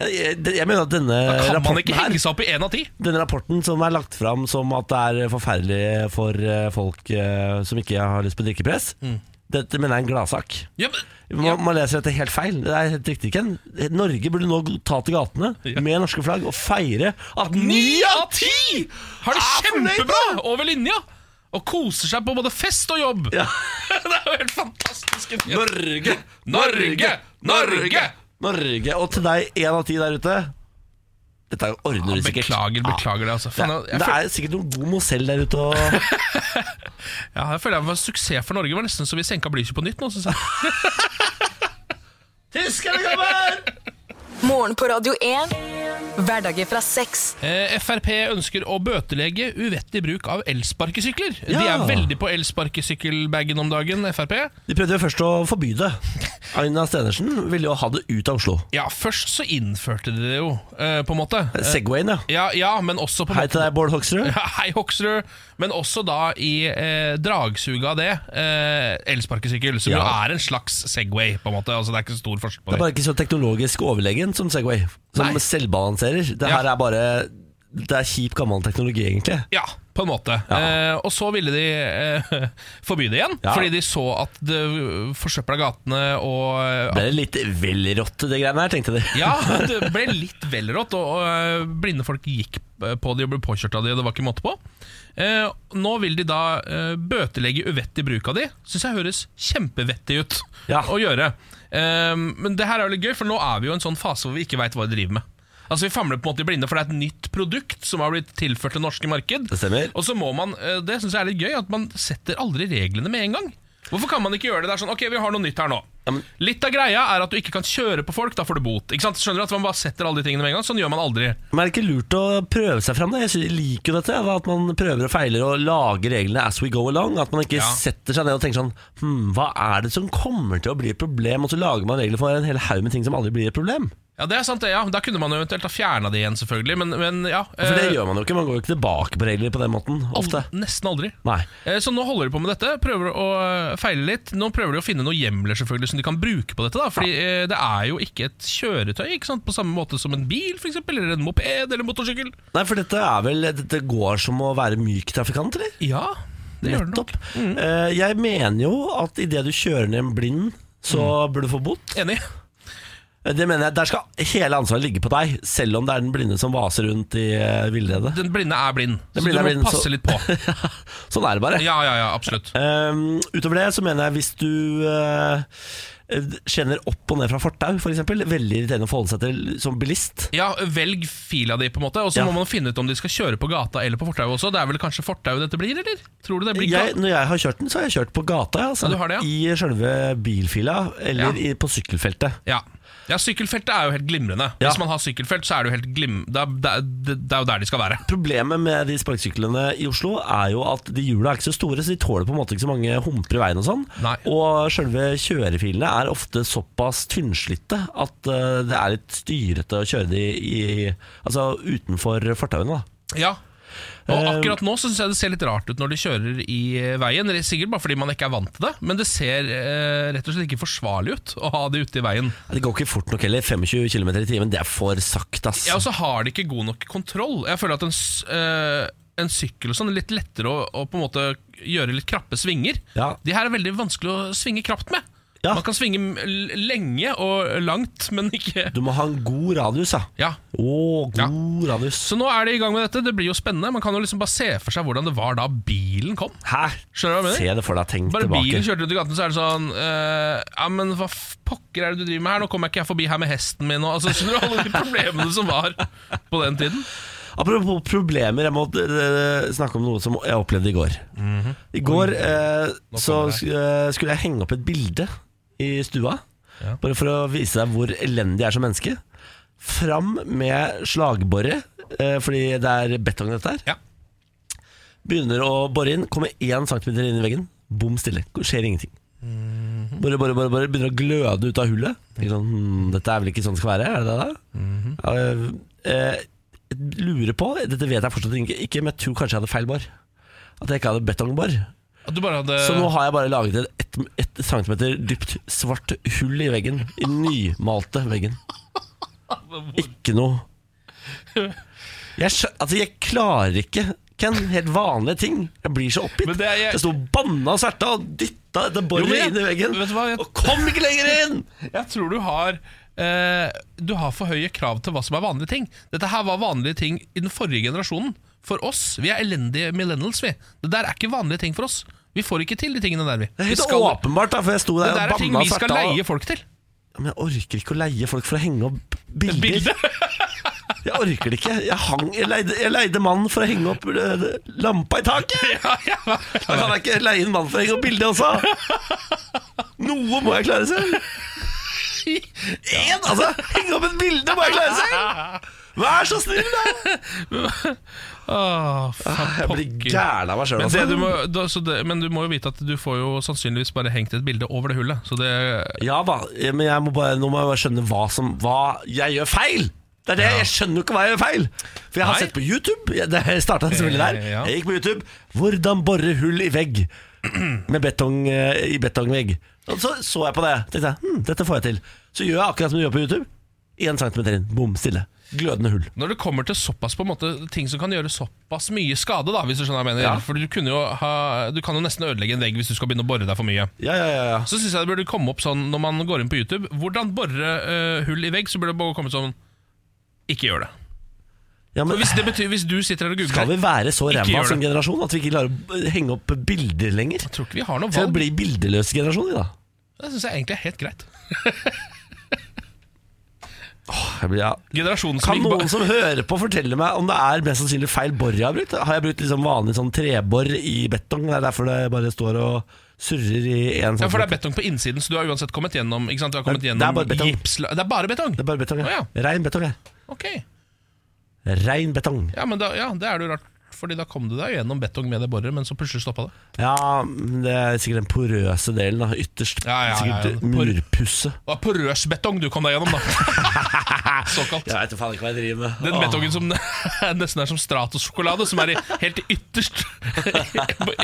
Jeg, jeg, jeg mener at denne Kan man Eh, rapporten ikke her henge seg opp i én av ti? Denne rapporten som er lagt fram som at det er forferdelig for eh, folk eh, som ikke har lyst på drikkepress Dette mener jeg er en gladsak. Mm. Ja, men, Man, man leser dette helt feil. Det er helt riktig, Ken. Norge burde nå ta til gatene Ja. med norske flagg og feire at ni av ti har det er fornøyd, kjempebra over linja! Og koser seg på både fest og jobb. Ja. <laughs> det er jo helt fantastisk. Norge, Norge, Norge! Norge! Og til deg, én av ti der ute. Dette er jo ordner du sikkert. Beklager, beklager det. altså Ja. Faen, Det, jeg, det føler, er sikkert noen god Mozell der ute og <laughs> Ja, jeg føler jeg var suksess for Norge. Det var nesten så vi senka Blücher på nytt nå. Synes jeg. <laughs> Tyskerne kommer! Morgen på Radio 1. Hverdager fra seks. eh, Frp ønsker å bøtelegge uvettig bruk av elsparkesykler. De Ja. er veldig på elsparkesykkelbagen om dagen, Frp. De prøvde jo først å forby det. Aina Stenersen ville jo ha det ut av Oslo. Ja, først så innførte de det jo, eh, på en måte. Segwayen, ja. Ja, ja, men også på en Hei måte <laughs> til deg, Bård Hoksrud. Ja, Hei, Hoksrud. Men også da i eh, dragsuget av det, eh, elsparkesykkel, som jo Ja. er en slags Segway, på en måte. Altså, det er ikke så stor forskjell på Det er det. bare ikke så teknologisk overlegen som Segway. Som Nei. selvbalanserer. Det Ja. her er bare Det er kjip gammel teknologi, egentlig. Ja, på en måte. Eh, og så ville de eh, <laughs> forby det igjen, Ja. fordi de så at det forsøpla gatene og Det er litt vel rått, det greiene her, tenkte de. <laughs> ja, det ble litt vel rått, og, og eh, blinde folk gikk på de og ble påkjørt av de, og det var ikke måte på. Eh, nå vil de da eh, bøtelegge uvettig bruk av de. Syns jeg høres kjempevettig ut Ja. å gjøre. Eh, men det her er jo litt gøy, for nå er vi jo i en sånn fase hvor vi ikke veit hva vi driver med. Altså Vi famler på en måte i blinde, for det er et nytt produkt som har blitt tilført det norske marked. <laughs> Det stemmer. Og så må man, eh, det syns jeg er litt gøy, at man setter aldri reglene med en gang. Hvorfor kan man ikke gjøre det? Det er sånn, ok, vi har noe nytt her nå. Ja, men- Litt av greia er at du ikke kan kjøre på folk, da får du bot. Ikke sant? Skjønner du at man bare setter alle de tingene med en gang? Sånn gjør man aldri. Men er det ikke lurt å prøve seg fram? da? Jeg sy- liker jo dette. da, At man prøver og feiler og lager reglene as we go along. At man ikke Ja. setter seg ned og tenker sånn Hm, hva er det som kommer til å bli et problem? Og så lager man regler for en hel haug med ting som aldri blir et problem. Ja, det er sant det, ja. Da kunne man jo eventuelt ha fjerna det igjen, selvfølgelig, men, men ja. For det eh, gjør man jo ikke. Man går jo ikke tilbake på regler på den måten. Ofte. ald- Nesten aldri. Nei. Eh, Så nå holder de på med dette, prøver å eh, feile litt. Nå prøver de å finne noen hjemler selvfølgelig som de kan bruke på dette. da Fordi eh, det er jo ikke et kjøretøy, ikke sant? på samme måte som en bil, for eksempel, eller en moped eller en motorsykkel. Nei, for dette er vel Dette går som å være myk trafikant, eller? Ja, det gjør det nok. Mm. Nettopp. Eh, jeg mener jo at idet du kjører ned en blind, så Mm. burde du få bot. Enig. Det mener jeg, Der skal hele ansvaret ligge på deg, selv om det er den blinde som vaser rundt i eh, villredet. Den blinde er blind, så blinde du er må blind, så- passe litt på. <laughs> Sånn er det bare. Ja, ja, ja, absolutt. Ehm, utover det så mener jeg hvis du uh, kjenner opp og ned fra fortau, f.eks. Veldig irriterende å forholde seg til som bilist. Ja, Velg fila di, på en måte og så Ja. må man finne ut om de skal kjøre på gata eller på fortauet også. Det er vel kanskje fortauet dette blir, eller? Tror du det blir Jeg, gata? når jeg har kjørt den, så har jeg kjørt på gata. Altså, Ja, du har det, ja. I sjølve bilfila, eller Ja. i, på sykkelfeltet. Ja. ja, sykkelfeltet er jo helt glimrende. Ja. Hvis man har sykkelfelt, så er det jo helt glim... Det er, det, er, det er jo der de skal være. Problemet med de sparkesyklene i Oslo er jo at de hjula er ikke så store, så de tåler på en måte ikke så mange humper i veien og sånn. Nei. Og sjølve kjørefilene er ofte såpass tynnslitte at eh, det er litt styrete å kjøre de i, altså, utenfor fortauene. da. Ja og Eh, akkurat nå så synes jeg det ser litt rart ut når de kjører i eh, veien. Eller Sikkert bare fordi man ikke er vant til det, men det ser eh, rett og slett ikke forsvarlig ut å ha de ute i veien. Ja, Det går ikke fort nok heller. 25 km i timen, det er for sakte, ass. Ja, altså- og så har de ikke god nok kontroll. Jeg føler at en, s- eh, en sykkel og sånn er litt lettere å, å på en måte gjøre litt krappe svinger. Ja. De her er veldig vanskelig å svinge krapt med. Ja. Man kan svinge m- l- lenge og langt, men ikke Du må ha en god radius, ja. ja. Å, god radius. Så nå er de i gang med dette. Det blir jo spennende. Man kan jo liksom bare se for seg hvordan det var da bilen kom. Hæ? Skjønner du hva jeg mener? Se det for deg, tenk Bare bilen tilbake. kjørte rundt i gaten, så er det sånn eh, Ja, men hva f- pokker er det du driver med her? Nå kommer jeg ikke jeg forbi her med hesten min og altså, Skjønner du alle de problemene som var på den tiden? Apropos problemer, jeg må eh, snakke om noe som jeg opplevde i går. I går eh, så Mhm. kommer sk- eh, skulle jeg henge opp et bilde i stua. Ja. Bare for å vise deg hvor elendig jeg er som menneske. Fram med slagborre, eh, fordi det er betong dette her. Ja. Begynner å bore inn, kommer én centimeter inn i veggen. Bom stille. Skjer ingenting. Mhm. Bore, bore, bore, bore. Begynner å gløde ut av hullet. Tenker sånn, hm, dette er vel ikke sånn det skal være? Er det det da? Mhm. Ja, eh, eh, lurer på, dette vet jeg fortsatt ikke, ikke, men jeg tror kanskje jeg hadde feil bor. At jeg ikke hadde betongbor. At du bare hadde Så nå har jeg bare laget et, et, et centimeter dypt svart hull i veggen. I den nymalte veggen. Ikke noe jeg, skjø- altså, jeg klarer ikke Ken, helt vanlige ting. Jeg blir så oppgitt. Men det er- jeg- jeg sto og banna og sverta og dytta dytta dette Jo, boret men jeg- inn i veggen. vet du hva, jeg- Og kom ikke lenger inn! Jeg tror du har eh, Du har for høye krav til hva som er vanlige ting. Dette her var vanlige ting i den forrige generasjonen. For oss. Vi er elendige millennials, vi. Det der er ikke vanlige ting for oss. Vi får ikke til de tingene der, vi. Det er vi helt skal, åpenbart, da, for jeg sto det der der og er ting banna vi skal svarta. <laughs> leie folk til. Ja, Men jeg orker ikke å leie folk for å henge opp bilder. Bilde. <laughs> Jeg orker det ikke. Jeg, hang, jeg, leide, jeg leide mannen for å henge opp øh, lampa i taket! Ja, ja. Da kan jeg ikke leie en mann for å henge opp bilde også! Noe må jeg klare selv! Én, altså! Henge opp et bilde må jeg klare selv! Vær så snill, da! <laughs> Åh, faen, Ah, Jeg blir pokker. gæren av meg altså. sjøl. men, det du må, da, så det, men du må jo vite at du får jo sannsynligvis bare hengt et bilde over det hullet. Så det Ja da, men jeg må bare, nå må jeg bare skjønne hva, som, hva jeg gjør feil. Det er det, Jeg skjønner jo ikke hva jeg gjør feil. For jeg har Nei. sett på YouTube. Jeg- Det jeg startet selvfølgelig der. Eh, ja. Jeg gikk på YouTube. 'Hvordan borre hull i vegg' med betong, eh, i betongvegg. Og så så jeg på det. tenkte jeg, hm, dette får jeg til. Så gjør jeg akkurat som du gjør på YouTube. Én centimeter inn. Bom, stille. Glødende hull. Når det kommer til såpass på en måte ting som kan gjøre såpass mye skade, da, hvis du skjønner hva jeg mener. Ja. For du, kunne jo ha, du kan jo nesten ødelegge en vegg hvis du skal begynne å bore deg for mye. Ja, ja, ja, ja. Så syns jeg det burde komme opp sånn når man går inn på YouTube Hvordan bore eh, hull i vegg, så burde det bare komme sånn Ikke gjør det. ja Og men, hvis, det betyr, hvis du sitter her og skal vi googler være så Ikke ræva gjør som det. generasjon at vi ikke klarer å henge opp bilder lenger? Jeg tror ikke vi har noe Skal vi valg. bli bildeløse generasjoner, da? Det syns jeg egentlig er helt greit. Jeg blir, ja. Generasjonen som Kan gikk ba- noen som hører på fortelle meg om det er mest sannsynlig feil bor jeg har brukt? Har jeg brukt liksom vanlig sånn trebor i betong? Det er derfor det bare står og surrer i en sånn Ja, for det er betong på innsiden, så du har uansett kommet gjennom ikke sant? Du har kommet Det er gjennom bare betong. gipsla- Det er bare betong? Det er bare betong. Å, Ja. ja. Rein betong. Ja. Ok. Rein betong. Ja, men da, ja, det er jo rart, Fordi da kom du deg gjennom betong med det boret, men så plutselig stoppa det. Ja, men det er sikkert den porøse delen. Da. Ytterst Ja, ja, ja, ja. sikkert Por- murpusse. Det var porøsbetong du kom deg gjennom, da. <laughs> Såkalt. Jeg veit faen ikke hva jeg driver med. Den Åh. betongen som <laughs> nesten er som Stratos-sjokolade, som er i, helt ytterst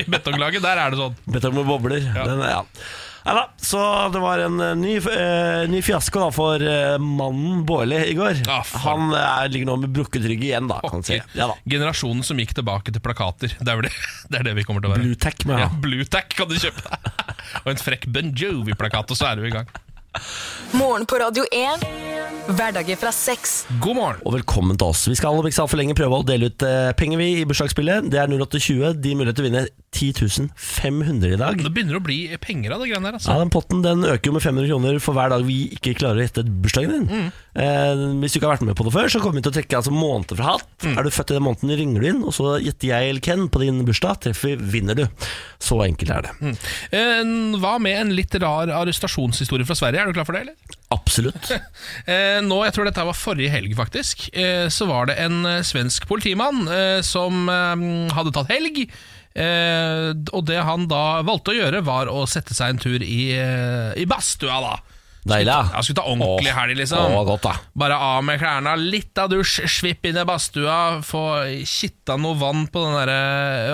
<laughs> i betonglaget. Der er det sånn. Betong med bobler. Den, ja. Nei da, så det var en eh, ny, eh, ny fiasko da for eh, mannen Bårli i går. Ja, faen. Han eh, ligger nå med brukket rygg igjen, da. Kan vi si. ja, da. Generasjonen som gikk tilbake til plakater. Det <laughs> er, vel det, det, er det vi kommer til å være. Bluetech med Ja, han. Bluetack kan du kjøpe <laughs> deg. Og en frekk Ben Jovi-plakat, og så er du i gang. Morgen på Radio 1. Hverdager fra seks. God morgen. Og velkommen til oss. Vi skal om ikke så altfor lenge prøve å dele ut eh, penger vi i bursdagsspillet. Det er 0820. De muligheter til å vinne 10 500 i dag. Det begynner å bli penger av det greiene Ja, der. Altså. den Potten den øker jo med 500 kroner for hver dag vi ikke klarer å gjette bursdagen din. Mm. Eh, hvis du ikke har vært med på det før, så kommer vi til å trekke altså, måneder fra hatt. Mm. Er du født i den måneden, ringer du inn, og så gjetter jeg eller Ken på din bursdag. Treffer vi, vinner du. Så enkelt er det. Mm. Eh, Hva med en litt rar arrestasjonshistorie fra Sverige? Er du klar for det, eller? <laughs> Absolutt. Eh, nå, jeg tror dette var forrige helg faktisk eh, Så var det en eh, svensk politimann eh, Som eh, hadde tatt helg eh, Og det han da valgte å gjøre Var å sette seg en tur i, eh, i badstua da Deilig. ja. Han skulle ta Altså, ordentlig Åh, helg liksom åh, godt, da. Bare av med klærne, litt av dusj Svipp inn i badstua Få kitta noe vann på den der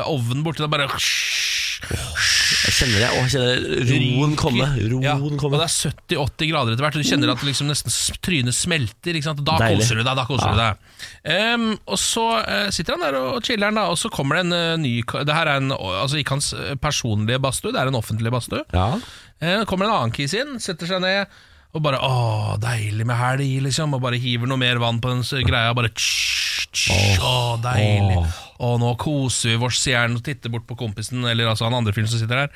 eh, ovnen borti der Bare Jeg kjenner det. Åh, jeg kjenner roen komme. Roen ja, og komme. det er 70-80 grader etter hvert, og du kjenner at liksom nesten s- trynet smelter. Ikke sant? Og Da Deilig. koser du deg. da koser du deg Em, Og så eh, sitter han der og og chiller'n, da, og så kommer det en eh, ny ka- Det her er en, altså ikke hans eh, personlige badstue, det er en offentlig badstue. Ja. Eh, kommer en annen kis inn, setter seg ned og bare Å, deilig med helg, liksom. Og bare hiver noe mer vann på den s- greia. Bare tsj, tsj, Å, deilig. Å, nå koser vi vårs, sier han og titter bort på kompisen, eller altså han andre fyren som sitter der.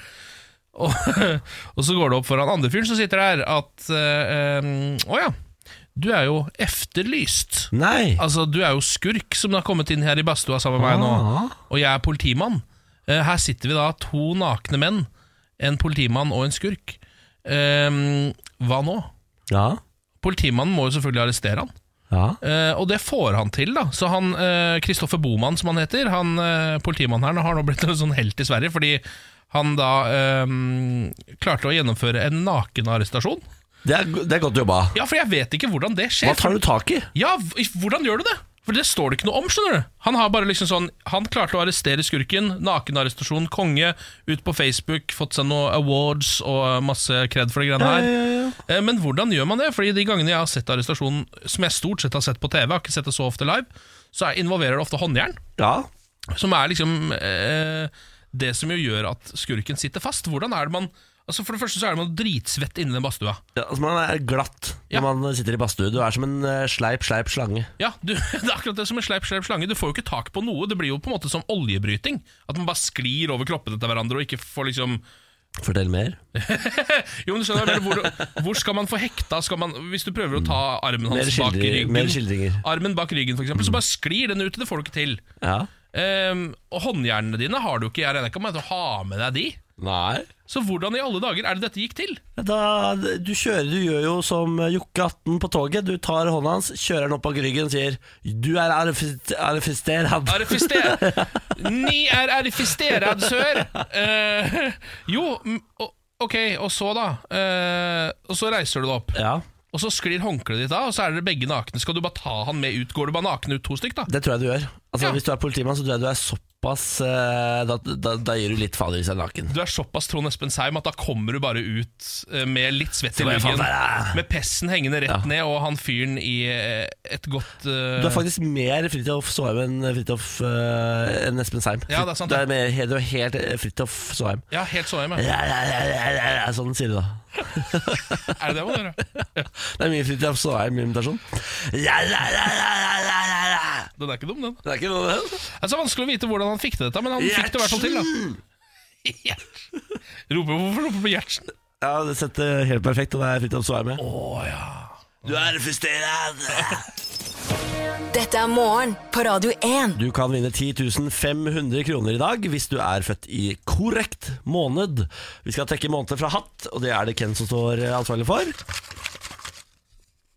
Og, <laughs> og så går det opp for han andre fyren som sitter der, at eh, em, Å ja, du er jo efterlyst. Nei. Altså, du er jo skurk som har kommet inn her i badstua sammen med meg nå, og jeg er politimann. Eh, Her sitter vi da, to nakne menn, en politimann og en skurk. Ehm, hva nå? Ja. Politimannen må jo selvfølgelig arrestere han. Ja. Eh, og det får han til, da. Så han Kristoffer Boman, som han heter, han eh, politimannen her, han har nå blitt en sånn helt i Sverige, fordi han da ehm, klarte å gjennomføre en nakenarrestasjon. Det er, det er godt jobba. Ja, for jeg vet ikke hvordan det skjer. Hva tar du tak i? Ja, v- hvordan gjør du det? For det står det ikke noe om, skjønner du. Han har bare liksom sånn Han klarte å arrestere skurken. Nakenarrestasjon, konge. Ut på Facebook, fått seg noen awards og masse cred for de greiene her. Eh, Men hvordan gjør man det? Fordi de gangene jeg har sett arrestasjonen, som jeg stort sett har sett på TV, jeg har ikke sett det så ofte live, så er- involverer det ofte håndjern. Ja. Som er liksom eh, det som jo gjør at skurken sitter fast. Hvordan er det man Altså For det første så er man dritsvett inni den badstua. Ja, altså Man er glatt Ja. når man sitter i badstue. Du er som en eh, sleip, sleip slange. Ja, du, <laughs> Det er akkurat det som en sleip, sleip slange. Du får jo ikke tak på noe. Det blir jo på en måte som oljebryting. At man bare sklir over kroppene til hverandre og ikke får liksom <laughs> Fortell mer. Jo, men du skjønner jeg mener, hvor, hvor skal man få hekta? Skal man, hvis du prøver å ta armen Mer hans bak skildri- mer ryggen, skildringer. armen bak ryggen for eksempel, så bare sklir den ut. Det får du ikke til. Ja. Ehm, og håndjernene dine har du ikke. Jeg regner ikke med at du har med deg de. Nei. Så hvordan i alle dager er det dette gikk til? Da, du kjører, du gjør jo som Jokke 18 på toget. Du tar hånda hans, kjører den opp bak ryggen og sier 'du er arrefist- arrestert'. Arifester Ni er arifisterad sør Eh, Jo, m- o- ok, og så da Eh, Og så reiser du deg opp Ja, Og så sklir håndkleet ditt av Og så er dere begge nakne Skal du bare ta han med ut? Går du bare naken ut to stykk da? det tror jeg du gjør. Altså Ja. Hvis du er politimann, så tror jeg du er såpass eh, da, da, da gir du litt fader i seg naken. Du er såpass Trond Espen Seim At da kommer du bare ut eh, Med litt svett i bare faen, ryggen der er- Med pessen hengende rett ned Og han fyren i eh, et godt eh, Du er faktisk mer Fridtjof Soheim enn Fridtjof eh, enn Espen Seim. Ja, det er sant, Du ja. er, mer, he- du er helt eh, Fridtjof Soheim. Ja, helt så jeg med Ja, ja, ja, ja, ja, ja, Sånn sier du da. Er det det man gjør? <laughs> Det er mye Fridtjof Soheim-imitasjon. Ja, ja, ja, ja, ja, ja, ja, ja. Den er ikke dum den Det er ikke noe det. Det er så vanskelig å vite hvordan han fikk til dette Men han fikk det i hvert fall til da Gjertsen. Roper, hvorfor roper du på Gjertsen? Ja, det setter helt perfekt, og det er Fridtjof Soheim med. Du er frustrert. Dette er morgen på Radio 1. Du kan vinne 10 500 kroner i dag hvis du er født i korrekt måned. Vi skal trekke måneder fra hatt, og det er det Ken som står eh, ansvarlig for.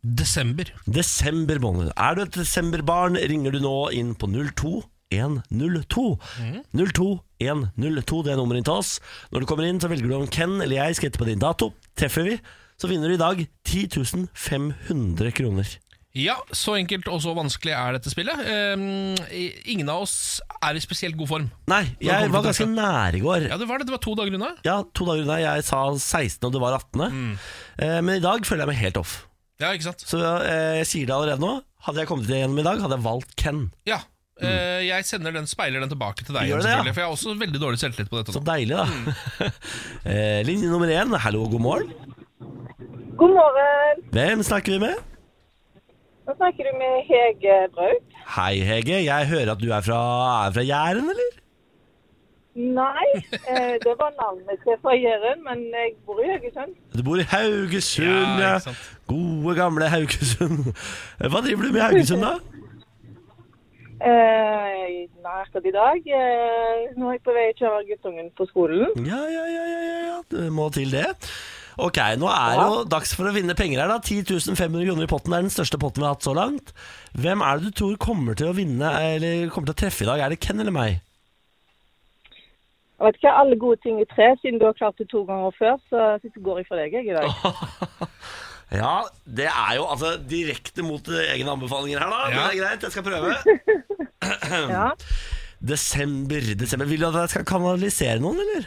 Desember. Desember måned. Er du et desemberbarn, ringer du nå inn på 02102. Mhm. 02102, det er nummeret inn til oss. Når du kommer inn, så velger du om Ken eller jeg skal hete på din dato. Treffer vi, så vinner du i dag 10 500 kroner. Ja, så enkelt og så vanskelig er dette spillet. Ehm, i- ingen av oss er i spesielt god form. Nei, jeg kommer var til ganske dette. nær i går. Ja, det var det. Det var to dager unna. Ja, to dager unna. Jeg sa 16, og det var 18. Mm. Eh, Men i dag føler jeg meg helt off. Ja, ikke sant? Så eh, jeg sier det allerede nå. Hadde jeg kommet igjennom i dag, hadde jeg valgt Ken. Ja. Eh, jeg sender den, speiler den tilbake til Mm. deg. Gjør det, igjen, ja. selvfølgelig, For jeg har også veldig dårlig selvtillit på dette. Så nå. deilig, da. Mm. <laughs> Eh, Linje nummer én, hallo, god morgen. God morgen. Hvem snakker vi med? Nå snakker du med Hege Braut. Hei Hege, jeg hører at du er fra, er fra Jæren, eller? Nei, eh, det var navnet til fra Jæren, men jeg bor i Haugesund. Du bor i Haugesund, Ja, ja. ikke sant. Gode, gamle Haugesund. <laughs> Hva driver du med i Haugesund, da? Eh, nei, akkurat i dag. Eh, nå er jeg på vei å kjøre guttungen på skolen. Ja, ja, ja, ja, ja, ja. du må til det. Ok, nå er det jo dags for å vinne penger her, da. 10 500 kroner i potten er den største potten vi har hatt så langt. Hvem er det du tror kommer til å vinne, eller kommer til å treffe i dag? Er det Ken eller meg? Jeg vet ikke, alle gode ting i tre, siden du har klart det to ganger før, så så går jeg for deg jeg, i dag. Ja, det er jo altså direkte mot eh, egne anbefalinger her, da. Men Ja. det er greit, jeg skal prøve. <clears throat> Ja. Desember, desember. Vil du at jeg skal kanalisere noen, eller?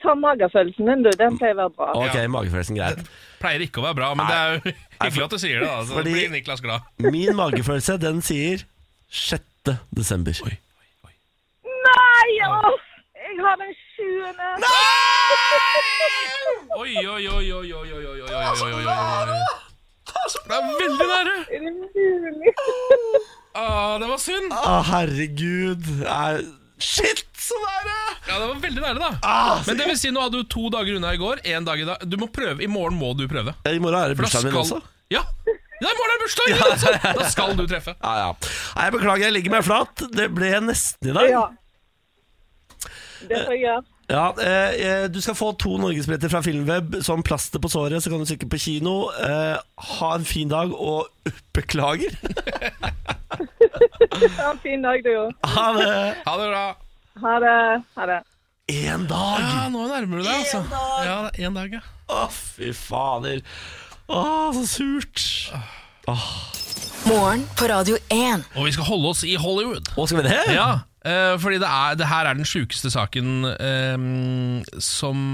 Ta magefølelsen din, du. Den pleier å være bra. Ok, Ja. magefølelsen, greit. Pleier ikke å være bra, men det er <laughs> jo hyggelig at du sier det. da, så Fordi- blir Niklas glad. Min magefølelse, den sier 6. desember. Nei, åh! Jeg har den sjuende. Oi, oi, oi, oi, oi, oi, oi, oi, oi, oi, oi, oi. Det er veldig nære! Er det mulig? Ah, det var synd. Å, herregud. Nei, Shit, sånn så nære! Ja, det var veldig nære, da. Ah, Men det vil si, nå hadde du to dager unna i går. En dag i dag. Du må prøve. I morgen må du prøve. I morgen er det For da bursdagen min skal- også. Ja. ja, i morgen er det bursdag! ikke sant? Da skal du treffe. Ja, ja. Nei, jeg beklager, jeg ligger meg flat. Det ble nesten i dag. Ja. Det får jeg gjøre. Ja, eh, eh, Du skal få to norgesbilletter fra Filmweb som plaster på såret, så kan du stikke på kino. Eh, ha en fin dag, og <laughs> beklager. Ha en fin dag, du òg. Ha det! Ha det bra. Ha det. Ha det. Én dag! Ja, nå nærmer du deg, altså. Ja, det er en dag, ja. Å, fy fader. Å, så surt. Morgen på Radio 1. Og vi skal holde oss i Hollywood. Å, skal vi det? Ja, eh, fordi det, er, det her er den sjukeste saken eh, som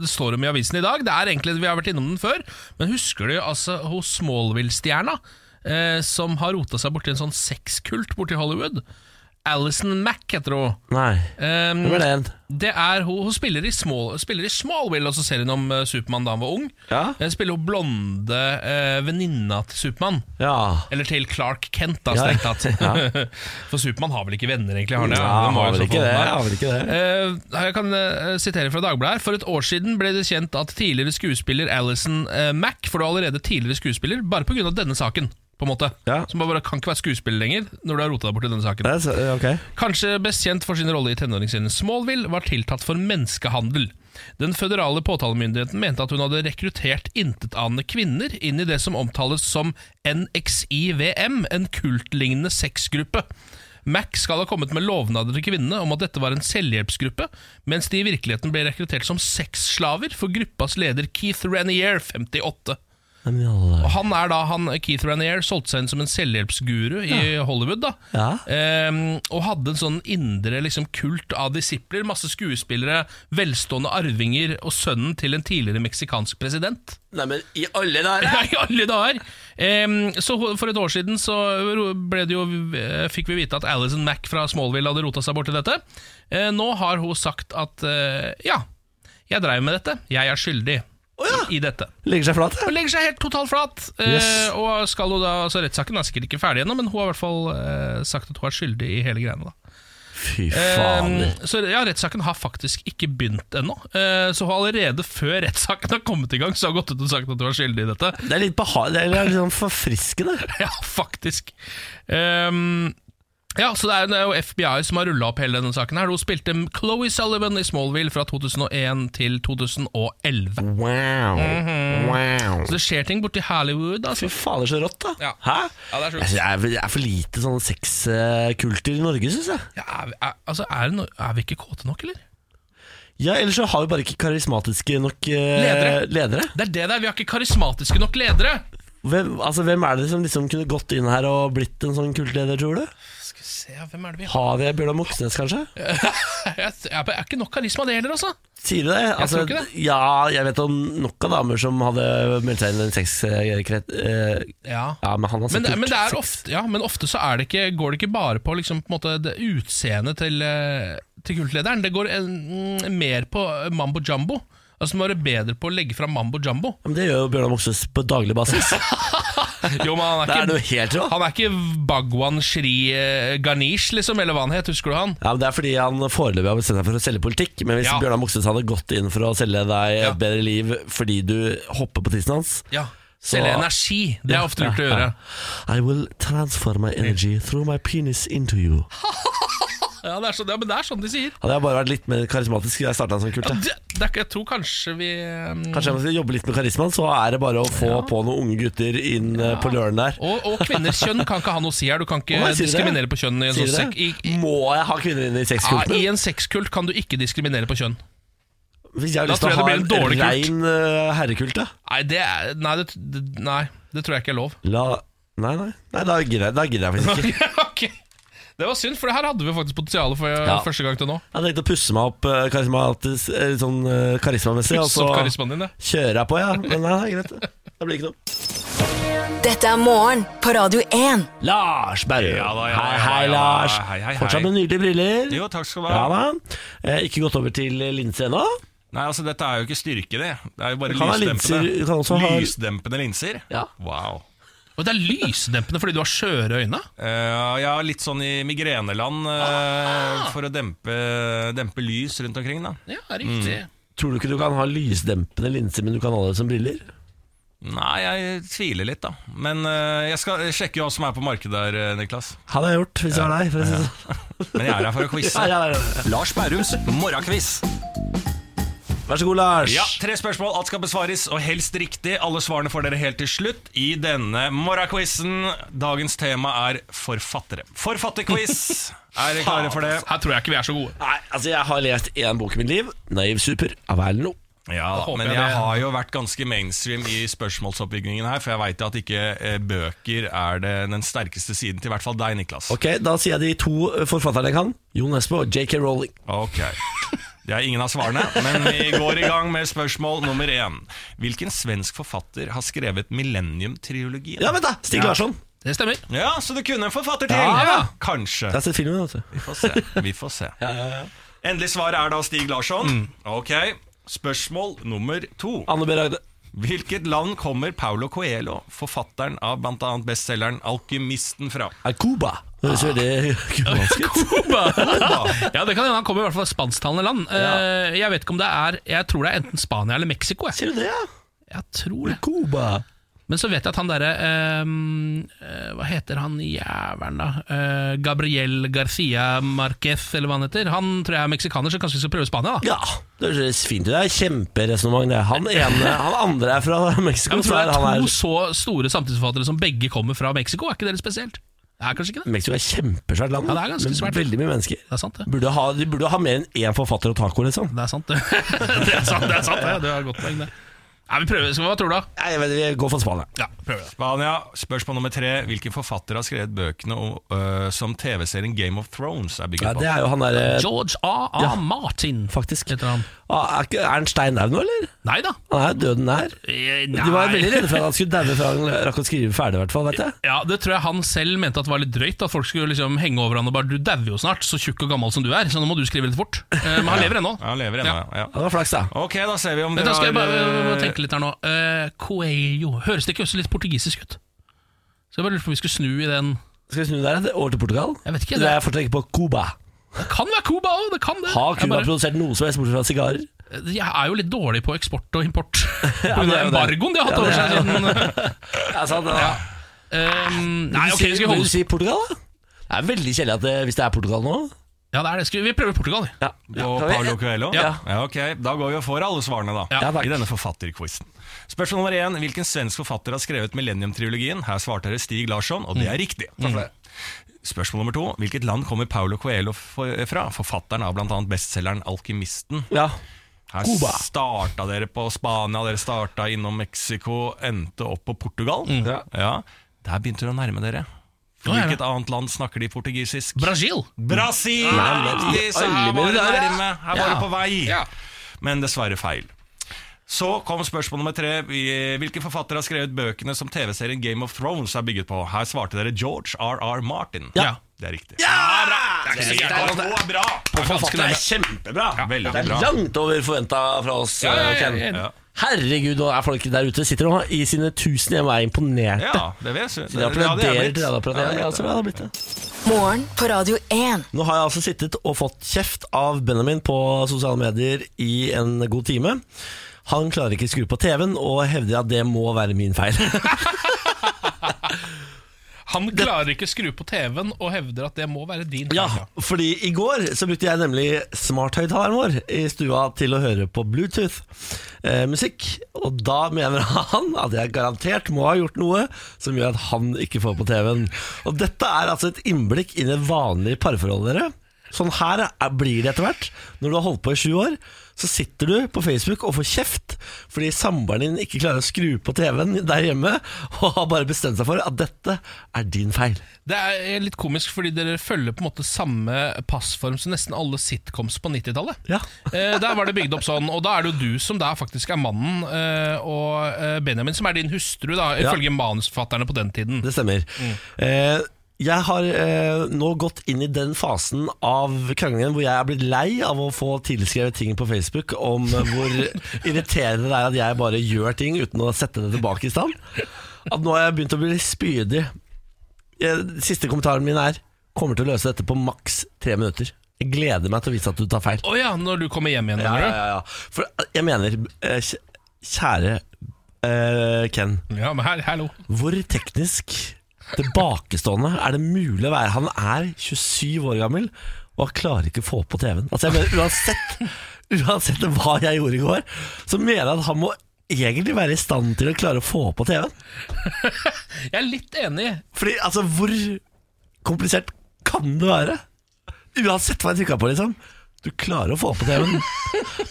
det står om i avisen i dag. Det er egentlig, Vi har vært innom den før, men husker du altså hos Smallville-stjerna? Eh, som har rota seg borti en sånn sexkult borti Hollywood. Alison Mack heter hun. Nei. Um, Hvem er det igjen? det er hun, hun spiller i, Small, spiller i Smallville, altså serien om eh, Supermann da han var ung. Ja. Eh, spiller hun blonde eh, venninna til Supermann. Ja. Eller til Clark Kent, <laughs> da, Ja. strengt tatt. <laughs> For Supermann har vel ikke venner, egentlig? Har han det? Ja, Det må har jo vel i så ikke fall- det. Nei. Har vel ikke det. Eh, jeg kan eh, sitere fra Dagbladet her. For et år siden ble det kjent at tidligere skuespiller Alison eh, Mack For du er allerede tidligere skuespiller, bare pga. denne saken. På en måte Ja. Som bare kan ikke være skuespiller lenger når du har rota deg bort i denne saken. Det er så, ok. Kanskje best kjent for sin rolle i tenåringsserien Smallville, var tiltatt for menneskehandel. Den føderale påtalemyndigheten mente at hun hadde rekruttert intetanende kvinner inn i det som omtales som NXIVM, en kultlignende sexgruppe. Mac skal ha kommet med lovnader til kvinnene om at dette var en selvhjelpsgruppe, mens de i virkeligheten ble rekruttert som sexslaver for gruppas leder Keith Renier, 58. Men i alle dager. Og Han er da, han, Keith Ranier solgte seg inn som en selvhjelpsguru i Hollywood. da Ja. Ehm, Og hadde en sånn indre liksom, kult av disipler. Masse skuespillere, velstående arvinger og sønnen til en tidligere meksikansk president. <laughs> Nei, men i alle dager! Nei, alle dager! Ehm, så ho- for et år siden så ro- ble det jo, eh, fikk vi vite at Alison Mack fra Smallville hadde rota seg borti dette. Eh, nå har hun sagt at eh, ja, jeg dreiv med dette. Jeg er skyldig i, i dette. Legger seg flat. ja. Hun legger seg helt totalt flat. eh, Yes. Og skal hun da, altså Rettssaken er sikkert ikke ferdig ennå, men hun har i hvert fall eh, sagt at hun er skyldig i hele greiene. da Fy Eh, Så ja, Rettssaken har faktisk ikke begynt ennå. Eh, Så hun har allerede før rettssaken har kommet i gang, så har hun gått ut og sagt at hun er skyldig i dette. <laughs> Det er litt behag... Det er litt sånn forfriskende. Ja, faktisk. Ehm, ja, så det er, det er jo FBI som har rulla opp hele denne saken. her Hun spilte Chloé Sullivan i Smallville fra 2001 til 2011. Mhm. Wow. wow. Så det skjer ting borti Hollywood. Altså. Fy fader, så rått, da. Ja. Hæ? Ja, det er sjukt. Jeg synes det er, det er for lite sånne sexkulter i Norge, syns jeg. Ja, er, vi- er, altså, er, det no, er vi ikke kåte nok, eller? Ja, Ellers så har vi bare ikke karismatiske nok eh, Ledere. ledere. Det er det der, vi har ikke karismatiske nok ledere! Hvem, altså, hvem er det som liksom kunne gått inn her og blitt en sånn kultleder, tror du? Skal vi se, hvem er det vi har? Har vi Bjørnar Moxnes, kanskje? Jeg, jeg, er ikke nok karisma det heller, altså. Sier du det? tror ikke det. Ja, jeg vet om nok av damer som hadde meldt seg inn i en sexkrets eh, Ja. Ja, men han har Men, sikkert det, men, det er sex. ofte, ja, men ofte så er det ikke, går det ikke bare på, liksom, på en måte, det utseendet til, eh, til kultlederen. Det går eh, mm, mer på eh, mambo jumbo. Altså, Du må være bedre på å legge fram mambo jumbo. <laughs> Men det gjør jo Bjørnar Moxnes på daglig basis. Jo, men han Det er er noe ikke, helt rått. han er ikke Bagwan Shri eh, Ganesh, liksom, eller hva han het. Husker du han? Ja, men Det er fordi han foreløpig har bestemt seg for å selge politikk. Men hvis Ja. Bjørnar Moxnes hadde gått inn for å selge deg et Ja. bedre liv fordi du hopper på tissen hans Ja. Så- Selge energi. Det er ofte lurt Ja, å <laughs> gjøre. ja. I will transfer my energy through my penis into you. Ja, det er sånn, ja, men det er sånn de sier. Hadde jeg bare vært litt mer karismatisk, skulle jeg starta en sånn kult. Ja, jeg. det, det er, ikke- jeg tror kanskje vi eh, Kanskje jeg må jobbe litt med karismaen, så er det bare å få på noen unge gutter inn eh, på løren der. og, og kvinners kjønn kan ikke ha noe å si her. Du kan ikke Å, nei, sier du det? diskriminere på kjønn. I en, Sier sånn du sekk. I, det? Mm, Må jeg ha kvinner inn i Ja, sexkulten? I en sexkult kan du ikke diskriminere på kjønn. Hvis jeg har Da lyst til å tror jeg det ha blir en en dårlig kult. rein eh, herrekult, da? Nei, det, er- nei, det, det, nei, det tror jeg ikke er lov. La Nei, nei. nei da gidder jeg, da gidder jeg faktisk ikke. <laughs> ok Det var synd, for det her hadde vi faktisk potensial for eh, Ja. første gang til nå. Jeg tenkte å pusse meg opp eh, karismatisk, eh, sånn eh, karismamessig, og Så så karismaen din, ja. kjører jeg på, ja. Men nei, nei, greit. Det blir ikke noe. Dette er morgen på Radio 1. Lars Berrum. Ja da, ja da, ja hei, da, hei, ja da. Lars. Hei, hei, hei. Fortsatt med nydelige briller. Jo, takk skal du Ja ha. da. Eh, ikke gått over til eh, linse ennå. Nei, altså Dette er jo ikke styrke, det. Det er jo bare Det kan være lysdempende. linser, du kan også ha- Lysdempende linser? Ja. Wow. Og det er lysdempende fordi du har skjøre øyne. Eh, ja, litt sånn i migreneland eh, Ah! for å dempe, dempe lys rundt omkring, da. Ja, Mm. riktig Tror du ikke du kan ha lysdempende linser, men du kan ha det som briller? Nei, jeg tviler litt, da. Men eh, jeg skal sjekke hva som er på markedet der, eh, Niklas. Hadde jeg gjort, hvis jeg var deg. For å si det sånn. Men jeg er her for å <laughs> quize. Ja, ja, ja. Lars Bærums morgenkviss. Vær så god, Lars. Ja, Tre spørsmål, alt skal besvares, og helst riktig. Alle svarene får dere helt til slutt i denne morgenquizen. Dagens tema er forfattere. <laughs> Forfatterquiz. Er dere klare for det? Her tror jeg ikke vi er så gode. Nei, altså Jeg har lest én bok i mitt liv. 'Naiv super' av Erlend Loe. Ja, håper men jeg jeg det- har jo vært ganske mainstream i spørsmålsoppbyggingen her, for jeg veit at ikke eh, bøker er det den sterkeste siden til i hvert fall deg, Niklas. Ok, Da sier jeg de to eh, forfatterne jeg kan. Jon Nesbø og JK Rowling. Ok. Det er ingen av svarene, men vi går i gang med spørsmål nummer én. Hvilken svensk forfatter har skrevet Millennium-trilogien? Ja, vent da, Stig Larsson Det stemmer. Ja, så du kunne en forfatter til. Ja, ja. Kanskje. Jeg har sett filmen, vet du. Vi får se. Vi får se. Endelig svar er da Stig Larsson. Mm. Ok, spørsmål nummer to. Anne B. Ragde. Hvilket land kommer Paulo Coelho, forfatteren av bl.a. bestselgeren 'Alkymisten', fra? Er Cuba. Det høres veldig cubansk ut. Cuba! ja, det kan hende han kommer i hvert fall fra spansktalende land. Eh, Jeg vet ikke om det er Jeg tror det er enten Spania eller Mexico. Jeg, Sier du det, ja? jeg tror det. Cuba. Men så vet jeg at han derre eh, eh, Hva heter han jævelen, da? Eh, Gabriel Garcia Marquez, eller hva han heter. Han tror jeg er meksikaner, så kanskje vi skal prøve Spania, da. Ja, det høres fint ut. Det er kjemperesonnement, det. Han ene Han andre er fra Ja, Mexico. men så tror er det han er to her så store samtidsforfattere som begge kommer fra Mexico. Er ikke det litt spesielt? Det er kanskje ikke det? Mexico er kjempesvært land, Ja, det er ganske men svært. veldig mye mennesker. Det er sant, det. Burde ha, de burde ha mer enn én forfatter og taco, liksom. Det er sant, det. <laughs> det er sant, det er sant, det. Du har et godt poeng, det. Nei, vi prøver. Skal vi- Hva tror du, da? Nei, jeg vet, Vi går for Spania. Ja, prøver det. Spania. Spørsmål nummer tre. Hvilken forfatter har skrevet bøkene og, øh, som TV-serien Game of Thrones er bygget Ja, på? det er jo han derre George A.A. Martin, Eh, Faktisk. heter han. Ah, Er ikke- er han stein daud nå, eller? Nei da. Han er døden nær. Eh, Nei. De var veldig redde for at han skulle daue før han rakk å skrive ferdig, i hvert fall. vet jeg <laughs> Ja, Det tror jeg han selv mente at var litt drøyt. At folk skulle liksom henge over han og bare 'du dauer jo snart, så tjukk og gammel som du er', så nå må du skrive litt fort. Eh, Men han lever ennå. Ja, han lever ennå, ja. ja. Ja, Det var flaks, da. Ok, da ser vi om Vent, dere da skal jeg bare jeg må øh, tenke litt her nå. Eh, Coelho Høres det ikke også litt portugisisk ut? Så jeg bare lurer på om vi skulle snu i den Skal vi snu der? eller? Over til Portugal? Jeg vet ikke, det det- er fortsatt ikke på Cuba. Det kan være Cuba òg, det kan det. Har jeg, Cuba bare, produsert noe som helst bortsett fra sigarer? jeg er jo litt dårlig på eksport og <laughs> import. Pga. det er jo det. embargoen de har hatt over seg siden Ja, sant, det, da. <laughs> Ehm, Vil Nei, du ok, si- vi Vil skal holde du si Portugal, da? Det er veldig kjedelig at det, hvis det er Portugal nå. Ja, det er det. Skal vi, vi prøver Portugal. vi. Ja. på Kan vi- Paulo Coelho? Ja. ok. Da går vi og får alle svarene, da. Ja, takk. I denne forfatterquizen. Spørsmål nummer én. Hvilken svensk forfatter har skrevet Millennium-trilogien? Her svarte dere Stig Larsson, og det Mm. er riktig. Spørsmål nummer to. Hvilket land kommer Paulo Coelho for- fra? Forfatteren av bl.a. bestselgeren 'Alkymisten'. Ja. Her Cuba. starta dere på Spania, dere starta innom Mexico, endte opp på Portugal. Ja. Ja. Der begynte dere å nærme dere. For Å, ja, ja. hvilket annet land snakker de portugisisk? Brasil. Brasil! Riktig, så her alle var mener det det er det. nærme. Her var Ja. det på vei. Ja. Men dessverre feil. Så kom spørsmål nummer tre. Hvilke forfattere har skrevet bøkene som TV-serien Game of Thrones er bygget på? Her svarte dere George R.R. Martin. Ja. Det er riktig. Ja! Det er Det riktig. Det er bra! Forfatteren er kjempebra. veldig det er bra. langt over forventa fra oss. Ja, ja, ja, Ken. ja, ja. Herregud, nå er folk der ute sitter og i sine tusen hjemme er imponerte. Ja, det vet jeg. De Ja, det er applauderer blitt. til radioapparatet. Ja, Ja, det er altså- ja, det har blitt det. Morgen på Radio 1. Nå har jeg altså sittet og fått kjeft av Benjamin på sosiale medier i en god time. Han klarer ikke å skru på TV-en og hevder at det må være min feil. <laughs> Han klarer ikke skru på TV-en og hevder at det må være din feil. Ja, fordi i går så brukte jeg nemlig smarthøyttaleren vår i stua til å høre på Bluetooth-musikk. og da mener <laughs> han at jeg garantert må ha gjort noe som gjør at han ikke får på TV-en. Og dette er altså et innblikk i det vanlige parforholdet dere. Sånn her er, blir det etter hvert. Når du har holdt på i sju år, så sitter du på Facebook og får kjeft fordi samboeren din ikke klarer å skru på TV-en der hjemme, <laughs> og har bare bestemt seg for at dette er din feil. Det er litt komisk fordi dere følger på en måte samme passform som nesten alle sitcoms på 90-tallet. Ja. Eh, der var det bygd opp sånn, og da er det jo du som der faktisk er mannen, eh, og eh, Benjamin som er din hustru, da, Ja. ifølge manusforfatterne på den tiden. Det stemmer. Eh, jeg har eh, nå gått inn i den fasen av kranglingen hvor jeg er blitt lei av å få tilskrevet ting på Facebook om hvor irriterende det er at jeg bare gjør ting uten å sette det tilbake i stand. At nå har jeg begynt å bli litt spydig. Eh, Siste kommentaren min er Kommer til å løse dette på maks tre minutter. Jeg gleder meg til å vise at du tar feil. Å ja, når du kommer hjem igjen, Ja, ja, mener du? ja, ja. For jeg mener, eh, kj- kjære eh, Ken. Ja, men her, hallo. Hvor teknisk tilbakestående er det mulig å være? Han er 27 år gammel og han klarer ikke å få på TV-en. Altså jeg mener uansett, uansett hva jeg gjorde i går, så mener jeg at han må egentlig være i stand til å klare å få på TV-en. Jeg er litt enig. Fordi altså, hvor komplisert kan det være? Uansett hva jeg trykka på, liksom. Du klarer å få på TV-en.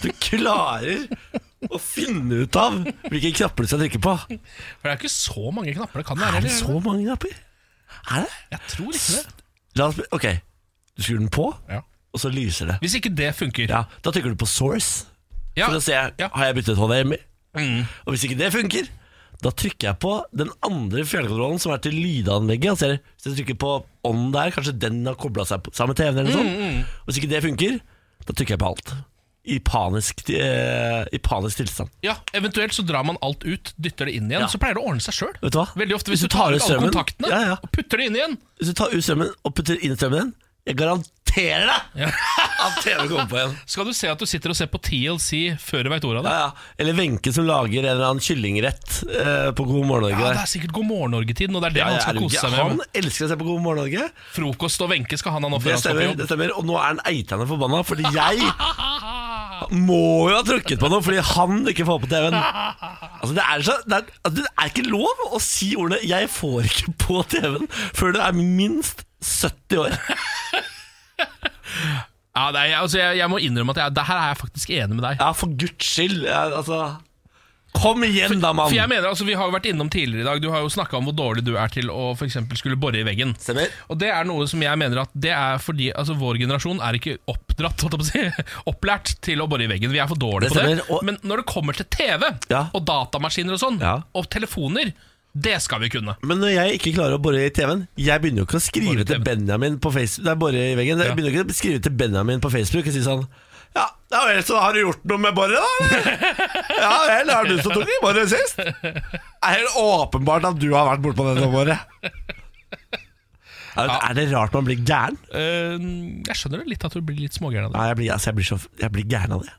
Du klarer å finne ut av hvilke knapper du skal trykke på. For det er ikke så mange knapper det kan være. Er det eller? så mange knapper? Er det? Jeg tror ikke det. La oss, ok, du skrur den på, Ja. og så lyser det. Hvis ikke det funker. Ja, da trykker du på source Ja. for å se Ja. har jeg byttet HDMI. Og hvis ikke det funker, Da trykker jeg på den andre fjernkontrollen som er til lydanlegget. Altså jeg, hvis jeg trykker på on der, kanskje den har kobla seg på- sammen med TV-en eller noe sånt. Hvis ikke det funker, da trykker jeg på alt. I panisk, ti- eh, I panisk tilstand. Ja, Eventuelt så drar man alt ut, dytter det inn igjen, Ja. så pleier det å ordne seg sjøl. Vet du hva? Veldig ofte hvis du tar ut alle kontaktene ja, ja. og putter det inn igjen. Hvis du tar ut strømmen og putter inn strømmen igjen, jeg garanterer deg <laughs> at TV kommer på igjen. Skal du se at du sitter og ser på TLC før du veit ordet av Ja, det? ja. Eller Wenche som lager en eller annen kyllingrett eh, på God morgen Norge. Ja, det der. er sikkert God morgen Norge-tiden, og det er det Ja, han jeg skal er jo kose ikke- seg han med. elsker å se på God morgen Norge. Frokost og Wenche skal han ha nå før Det han skal på stemmer, jobb. det stemmer. Og nå er han eitende forbanna, fordi jeg må jo ha trykket på noe fordi han ikke får på TV-en. Altså, det, er så, det, er, altså, det er ikke lov å si ordene 'jeg får ikke på TV-en' før du er minst 70 år. Ja, nei, altså, jeg, jeg må innrømme at jeg, det her er jeg faktisk enig med deg. Ja, for guds skyld. Ja, altså Kom igjen, da, mann. For jeg mener, altså, Vi har jo vært innom tidligere i dag, du har jo snakka om hvor dårlig du er til å for eksempel skulle bore i veggen. Stemmer. Og det er noe som jeg mener at det er fordi altså, vår generasjon er ikke oppdratt, holdt jeg på å si, <laughs> opplært til å bore i veggen. Vi er for dårlige Det på det. stemmer, og- Men når det kommer til TV Ja. og datamaskiner og sånn, Ja. og telefoner, det skal vi kunne. Men når jeg ikke klarer å bore i TV-en Jeg begynner jo ikke å skrive Bore i til TV-en. Benjamin på Facebook Det er bore i veggen Jeg Ja. begynner jo ikke å skrive til Benjamin på Facebook Og si sånn Ja, ja vel, så har du gjort noe med boret da? eller?» <laughs> ja vel, er det du som tok i boret sist? Det er helt åpenbart at du har vært bort på det nå, Båre er, er det rart man blir gæren? Eh, jeg skjønner det litt at du blir litt smågæren av det. Nei, jeg blir, altså, jeg blir, så, jeg blir gæren av det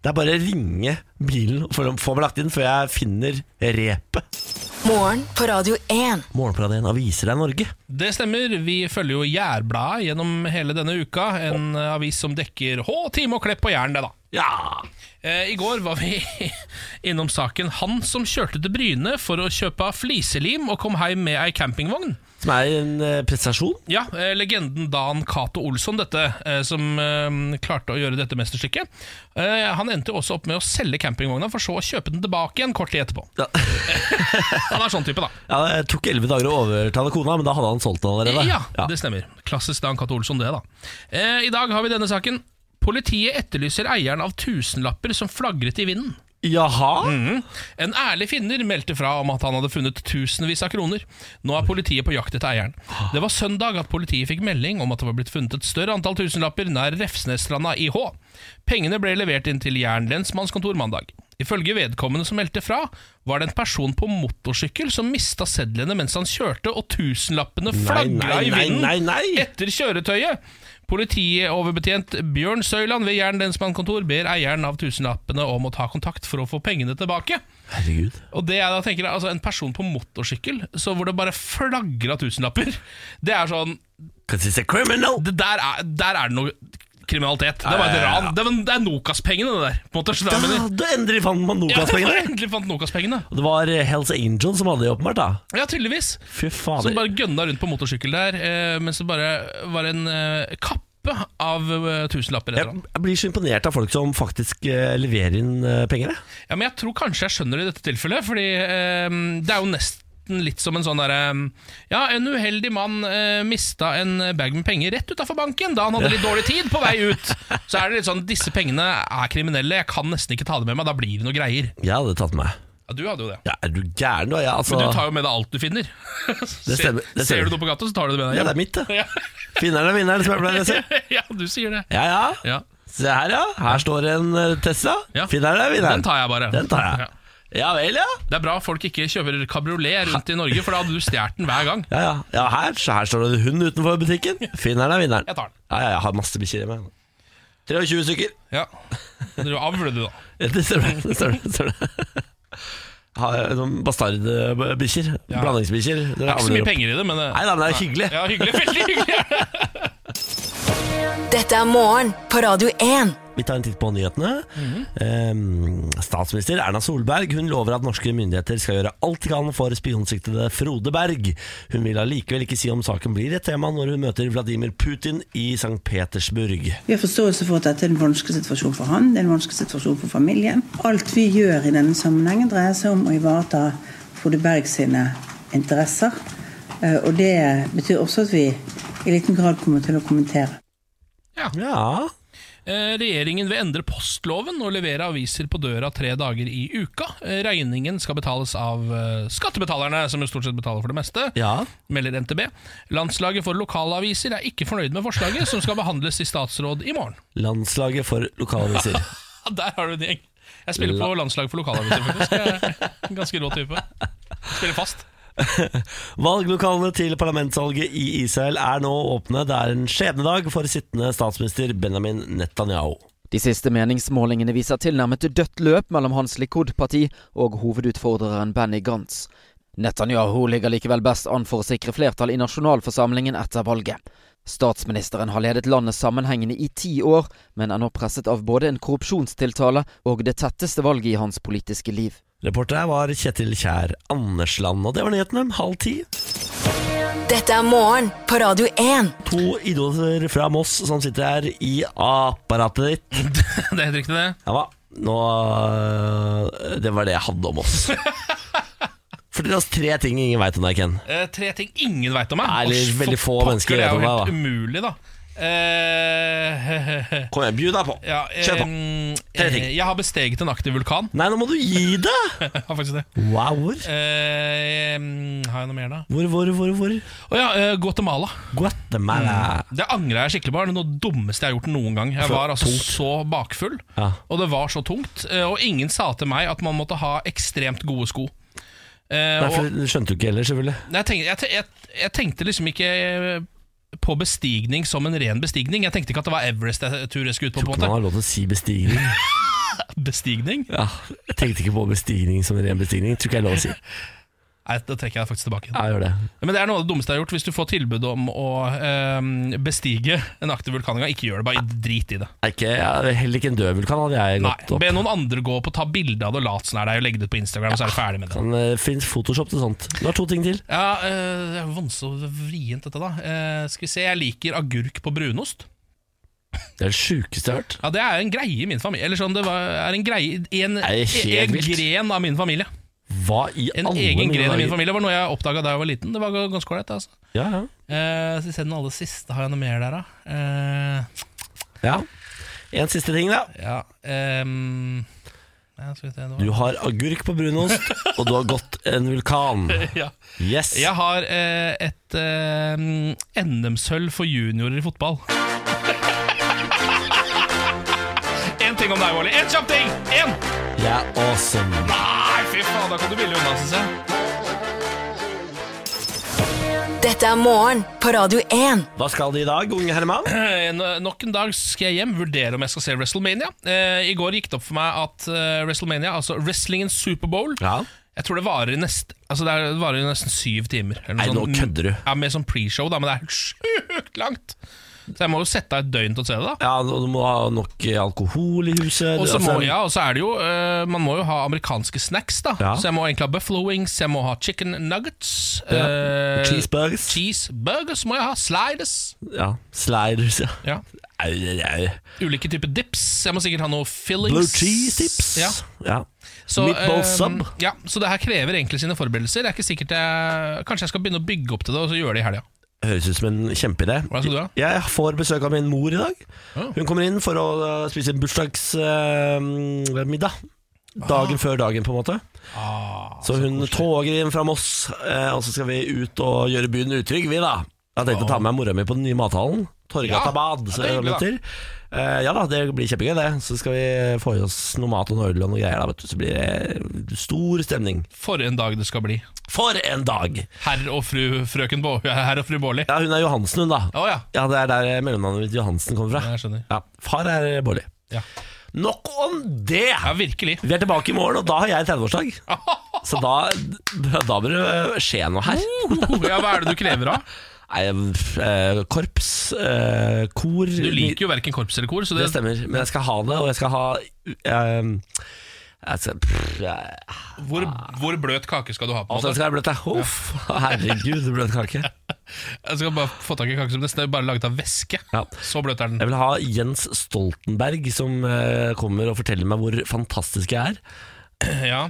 Det er bare å ringe bilen Og få få meg lagt inn før jeg finner repet Morgen på Radio 1. Morgenplanen aviser deg Norge Det stemmer. Vi følger jo Jærbladet gjennom hele denne uka. En eh, avis som dekker Hå, time og Klepp på Jæren, det, da. Ja Eh, I går var vi <laughs> innom saken han som kjørte til Bryne for å kjøpe fliselim og kom hjem med ei campingvogn. Som er en eh, prestasjon Ja, eh, legenden Dan Cato Olsson, dette, eh, som eh, klarte å gjøre dette mesterstykket. Eh, han endte også opp med å selge campingvogna, for så å kjøpe den tilbake igjen kort tid etterpå. Ja. Han er sånn type, da. <laughs> Ja, Det tok elleve dager å overtale kona, men da hadde han solgt den allerede. Ja, det stemmer. Klassisk Dan Cato Olsson, det, da. Eh, I dag har vi denne saken. Politiet etterlyser eieren av tusenlapper som flagret i vinden. Jaha? Mm. En ærlig finner meldte fra om at han hadde funnet tusenvis av kroner. Nå er politiet på jakt etter eieren. Det var søndag at politiet fikk melding om at det var blitt funnet et større antall tusenlapper nær Refsnesstranda i Hå. Pengene ble levert inn til Jæren lensmannskontor mandag. Ifølge vedkommende som meldte fra, var det en person på motorsykkel som mista sedlene mens han kjørte, og tusenlappene flagra nei, i nei, vinden nei, nei. etter kjøretøyet. Politioverbetjent Bjørn Søyland ved Jæren lensmannskontor ber eieren av tusenlappene om å ta kontakt for å få pengene tilbake. Herregud. Og det jeg da tenker er, altså En person på motorsykkel så hvor det bare flagrer av tusenlapper Det er sånn Cause he's a criminal. det der, er, der er det noe kriminalitet. Det var et ran. Det, var, det er Nokas-pengene, det der. På en måte, så det Da, er- men- da endelig fant man ja, <laughs> Nokas-pengene. endelig fant Nokas-pengene. Og Det var eh, Hells Angel som hadde det, åpenbart. da Ja, tydeligvis. Fy Som fader. bare gønna rundt på motorsykkel der, eh, mens det bare var en eh, kappe av eh, tusenlapper. etter Jeg, han. jeg blir så imponert av folk som faktisk eh, leverer inn eh, penger. jeg. Ja, men jeg tror kanskje jeg skjønner det i dette tilfellet, fordi eh, det er jo nesten litt som en sånn derre Ja, en uheldig mann eh, mista en bag med penger rett utafor banken da han hadde litt dårlig tid på vei ut. Så er det litt sånn disse pengene er kriminelle, jeg kan nesten ikke ta det med meg, da blir det noe greier. Jeg hadde tatt meg. Ja, du hadde jo det. Ja, er du gæren, du? Ja, altså, Men du tar jo med deg alt du <laughs> finner. Ser- stemmer, det Ser stemmer. du noe på gata, så tar du det med deg ja, det hjem. er mitt, det. Ja, Vinneren er vinneren, som jeg pleier å si. <laughs> ja, du sier det. Ja, ja. Ja. Se her, ja. Her står en eh, Tesla. Ja. Vinneren er vinneren. Den tar jeg bare. Den tar jeg. Ja. Ja vel, ja. Det er bra folk ikke kjøper kabriolet rundt i Norge, for da hadde du stjålet den hver gang. Ja, ja. ja her, så her står det en hund utenfor butikken. Finneren er vinneren. Jeg tar den. Ja, ja, jeg har masse bikkjer hjemme. 23 stykker. <laughs> Ja. Du avler du, da. Ja, Det stemmer. det stemmer, det <laughs> stemmer. Har jeg noen bastardbikkjer. Ja. Blandingsbikkjer. Dere Det er ikke så avler mye opp. penger i det, men det, Nei da, men det er hyggelig. ja, hyggelig, <laughs> veldig hyggelig. Dette er morgen på Radio 1. Vi tar en titt på nyhetene. Mhm. Eh, statsminister Erna Solberg hun lover at norske myndigheter skal gjøre alt de kan for spionsiktede Frode Berg. Hun vil allikevel ikke si om saken blir et tema når hun møter Vladimir Putin i St. Petersburg. Vi har forståelse for at dette er en vanskelig situasjon for han, det er en vanskelig situasjon for familien. Alt vi gjør i denne sammenhengen dreier seg om å ivareta Frode Berg sine interesser. Eh, Og det betyr også at vi i liten grad kommer til å kommentere. Ja, Eh, Regjeringen vil endre postloven og levere aviser på døra tre dager i uka. Eh, Regningen skal betales av eh, skattebetalerne, som jo stort sett betaler for det meste, Ja. melder NTB. Landslaget for lokalaviser er ikke fornøyd med forslaget, som skal behandles i statsråd i morgen. Landslaget for lokalaviser. Ja, Der har du en gjeng. Jeg spiller på landslaget for lokalaviser, faktisk. Jeg er en ganske rå <laughs> type. Spiller fast. <laughs> Valglokalene til parlamentsvalget i Israel er nå åpne. Det er en skjebnedag for sittende statsminister Benjamin Netanyahu. De siste meningsmålingene viser tilnærmet dødt løp mellom hans Likud-parti og hovedutfordreren Benny Gantz. Netanyahu ligger likevel best an for å sikre flertall i nasjonalforsamlingen etter valget. Statsministeren har ledet landet sammenhengende i ti år, men er nå presset av både en korrupsjonstiltale og det tetteste valget i hans politiske liv. Reporter her var Kjetil Kjær Andersland, og det var nyhetene halv ti. Dette er morgen på Radio 1. To idoler fra Moss som sitter her i apparatet ditt. Det er helt riktig, det. Ja hva? Nå øh, Det var det jeg hadde om <laughs> Moss. Fortell oss tre ting ingen veit om deg, Ken. Eh, tre ting ingen veit om meg. Nei, eller Åh, for veldig få pokker, mennesker Det er vet jo om helt umulig, da. Eh, <laughs> Kom igjen, bjud deg på. ja, eh, Kjør på. Tre ting. eh, Jeg har besteget en aktiv vulkan. <laughs> Nei, nå må du gi deg! Jeg har faktisk det. Wow. Eh, mm, har jeg noe mer, da? Hvor, hvor, hvor, hvor? Å ja, eh, Guatemala. Guatemala. Det angra jeg skikkelig på. Det er noe av det dummeste jeg har gjort noen gang. Jeg Så var altså tungt. så bakfull, Ja. og det var så tungt. eh, Og ingen sa til meg at man måtte ha ekstremt gode sko. Eh, Nei, og- for det skjønte du ikke heller, selvfølgelig. Nei, Jeg tenkte, jeg, te- jeg, jeg tenkte liksom ikke eh, på bestigning som en ren bestigning. Jeg tenkte ikke at det var Everest-tur jeg skulle ut på. på Man en måte. har lov til å si <laughs> bestigning. Bestigning? Ja, jeg tenkte ikke på bestigning som en ren bestigning. Tror ikke jeg er lov å si. Nei, da trekker jeg det faktisk tilbake. Ja, gjør det. Men det er noe av det dummeste jeg har gjort. Hvis du får tilbud om å eh, bestige en aktiv vulkan en gang, ikke gjør det. Bare drit i det. Er ikke, ja, heller ikke en død vulkan hadde jeg Nei, gått opp. Be noen andre gå opp og ta bilde av det og late som det er deg, og legge det ut på Instagram, så er du ferdig med det. Kan uh, finnes Photoshop til sånt. Du har to ting til. Ja, eh, Det er jo vanskelig og vrient, dette, da. Eh, skal vi se, jeg liker agurk på brunost. Det er det sjukeste jeg har hørt. Ja, Det er en greie i min familie. Eller sånn, det var, er en greie i en, Er det helt en vilt? gren av min familie. Hva i En alle egen mine gren i min dager? familie var noe jeg oppdaga da jeg var liten. Det var ganske ålreit. Altså. Ja, ja. Eh, så vi ser den aller siste. Har jeg noe mer der, da? Eh, ja. En siste ting, da. ja ehm, ja, skal vi se, det Du var. har agurk på brunost, og du har gått en vulkan. <laughs> Ja. Yes. Jeg har eh, et eh, NM-sølv for juniorer i fotball. <laughs> Én ting om deg, Wally. Én kjapp ting! Én! Jeg er awesome. Nei, fy faen, da kom du billig unna, syns jeg. Dette er morgen på Radio 1. Hva skal de i dag, unge Herman? Eh, no- Nok en dag skal jeg hjem vurdere om jeg skal se WrestleMania. Eh, I går gikk det opp for meg at eh, WrestleMania, altså wrestlingens Superbowl, Ja. Jeg tror det varer i nest, altså det er, det varer i nesten syv timer. eller noe Nei, nå sånt. kødder du. Ja, Med sånn pre-show, da, men det er sjukt langt! Så jeg må jo sette av et døgn til å se det, da. ja, og du må ha nok alkohol i huset. Og så Altså, må, ja, og så er det jo eh, Man må jo ha amerikanske snacks, da. Ja. Så jeg må egentlig ha buffalo wings, jeg må ha chicken nuggets. Ja. eh, Cheeseburgers. cheeseburgers må jeg ha. Sliders. Ja, sliders, ja. Ja. Au, au, au. Ulike typer dips. Jeg må sikkert ha noe fillings. Blue cheese dips. Ja. Ja. Så, Meatball eh, sub. Ja, så det her krever egentlig sine forberedelser. Det er ikke sikkert jeg, Kanskje jeg skal begynne å bygge opp til det og så gjøre det i helga. Høres ut som en kjempeidé. Hva skal du ha? Jeg får besøk av min mor i dag. Ja. Hun kommer inn for å eh, spise en bursdagsmiddag. Ah. Dagen før dagen, på en måte. så hun toger inn fra Moss, eh, og så skal vi ut og gjøre byen utrygg, vi da. Jeg har tenkt å ta med mora mi på den nye mathallen. Torgata Ja, Bad. ja, Så det er hyggelig, da. det Eh, ja da, det blir kjempegøy, det. Så skal vi få i oss noe mat og noe øl og noe greier. Da, vet du. Så blir det stor stemning. For en dag det skal bli. For en dag! Herr og fru frøken Bå, herr og fru Bårli. Å Ja, hun er Johansen, hun, da. ja. Ja, det er der mellomnavnet mitt Johansen kommer fra. Jeg skjønner. Ja, far er Bårli. Ja. Nok om det! ja, virkelig. Vi er tilbake i morgen, og da har jeg 30-årsdag. Så da, da bør det skje noe her. Ja, Hva er det du krever av? Nei, eh, korps, eh, kor Du liker jo verken korps eller kor, så Det det, stemmer. Men jeg skal ha det, og jeg skal ha eh, jeg skal, pff, jeg, hvor, hvor bløt kake skal du ha? på en altså, jeg måte? skal ha bløt jeg. Uff, herregud, bløt kake. Jeg skal bare få tak i kake som nesten er bare laget av væske. Ja. Så bløt er den. Jeg vil ha Jens Stoltenberg som eh, kommer og forteller meg hvor fantastisk jeg er. Ja.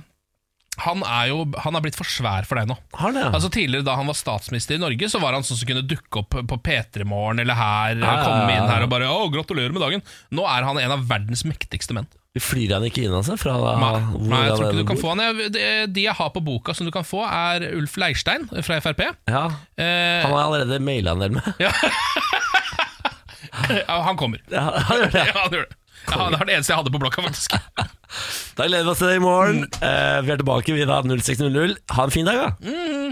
han er jo han er blitt for svær for deg nå. Har han det, ja? Altså Tidligere da han var statsminister i Norge, så var han sånn som kunne dukke opp på P3morgen eller her. ja, komme ja, inn ja. her og bare å, 'gratulerer med dagen'. Nå er han en av verdens mektigste menn. Flyr han ikke inn av seg fra Nei, hvor nei, jeg han tror enn ikke du kan bor? få han Jeg- de- De jeg har på boka som du kan få, er Ulf Leirstein fra Frp. Ja, Eh, han har allerede maila en del med. ja, han kommer. Ja, <laughs> han gjør det. <laughs> Ja, han gjør det. Ja, det var det eneste jeg hadde på blokka, faktisk. Mm. Da gleder vi oss til det i morgen. Eh, vi er tilbake vi er da 06.00. Ha en fin dag, da.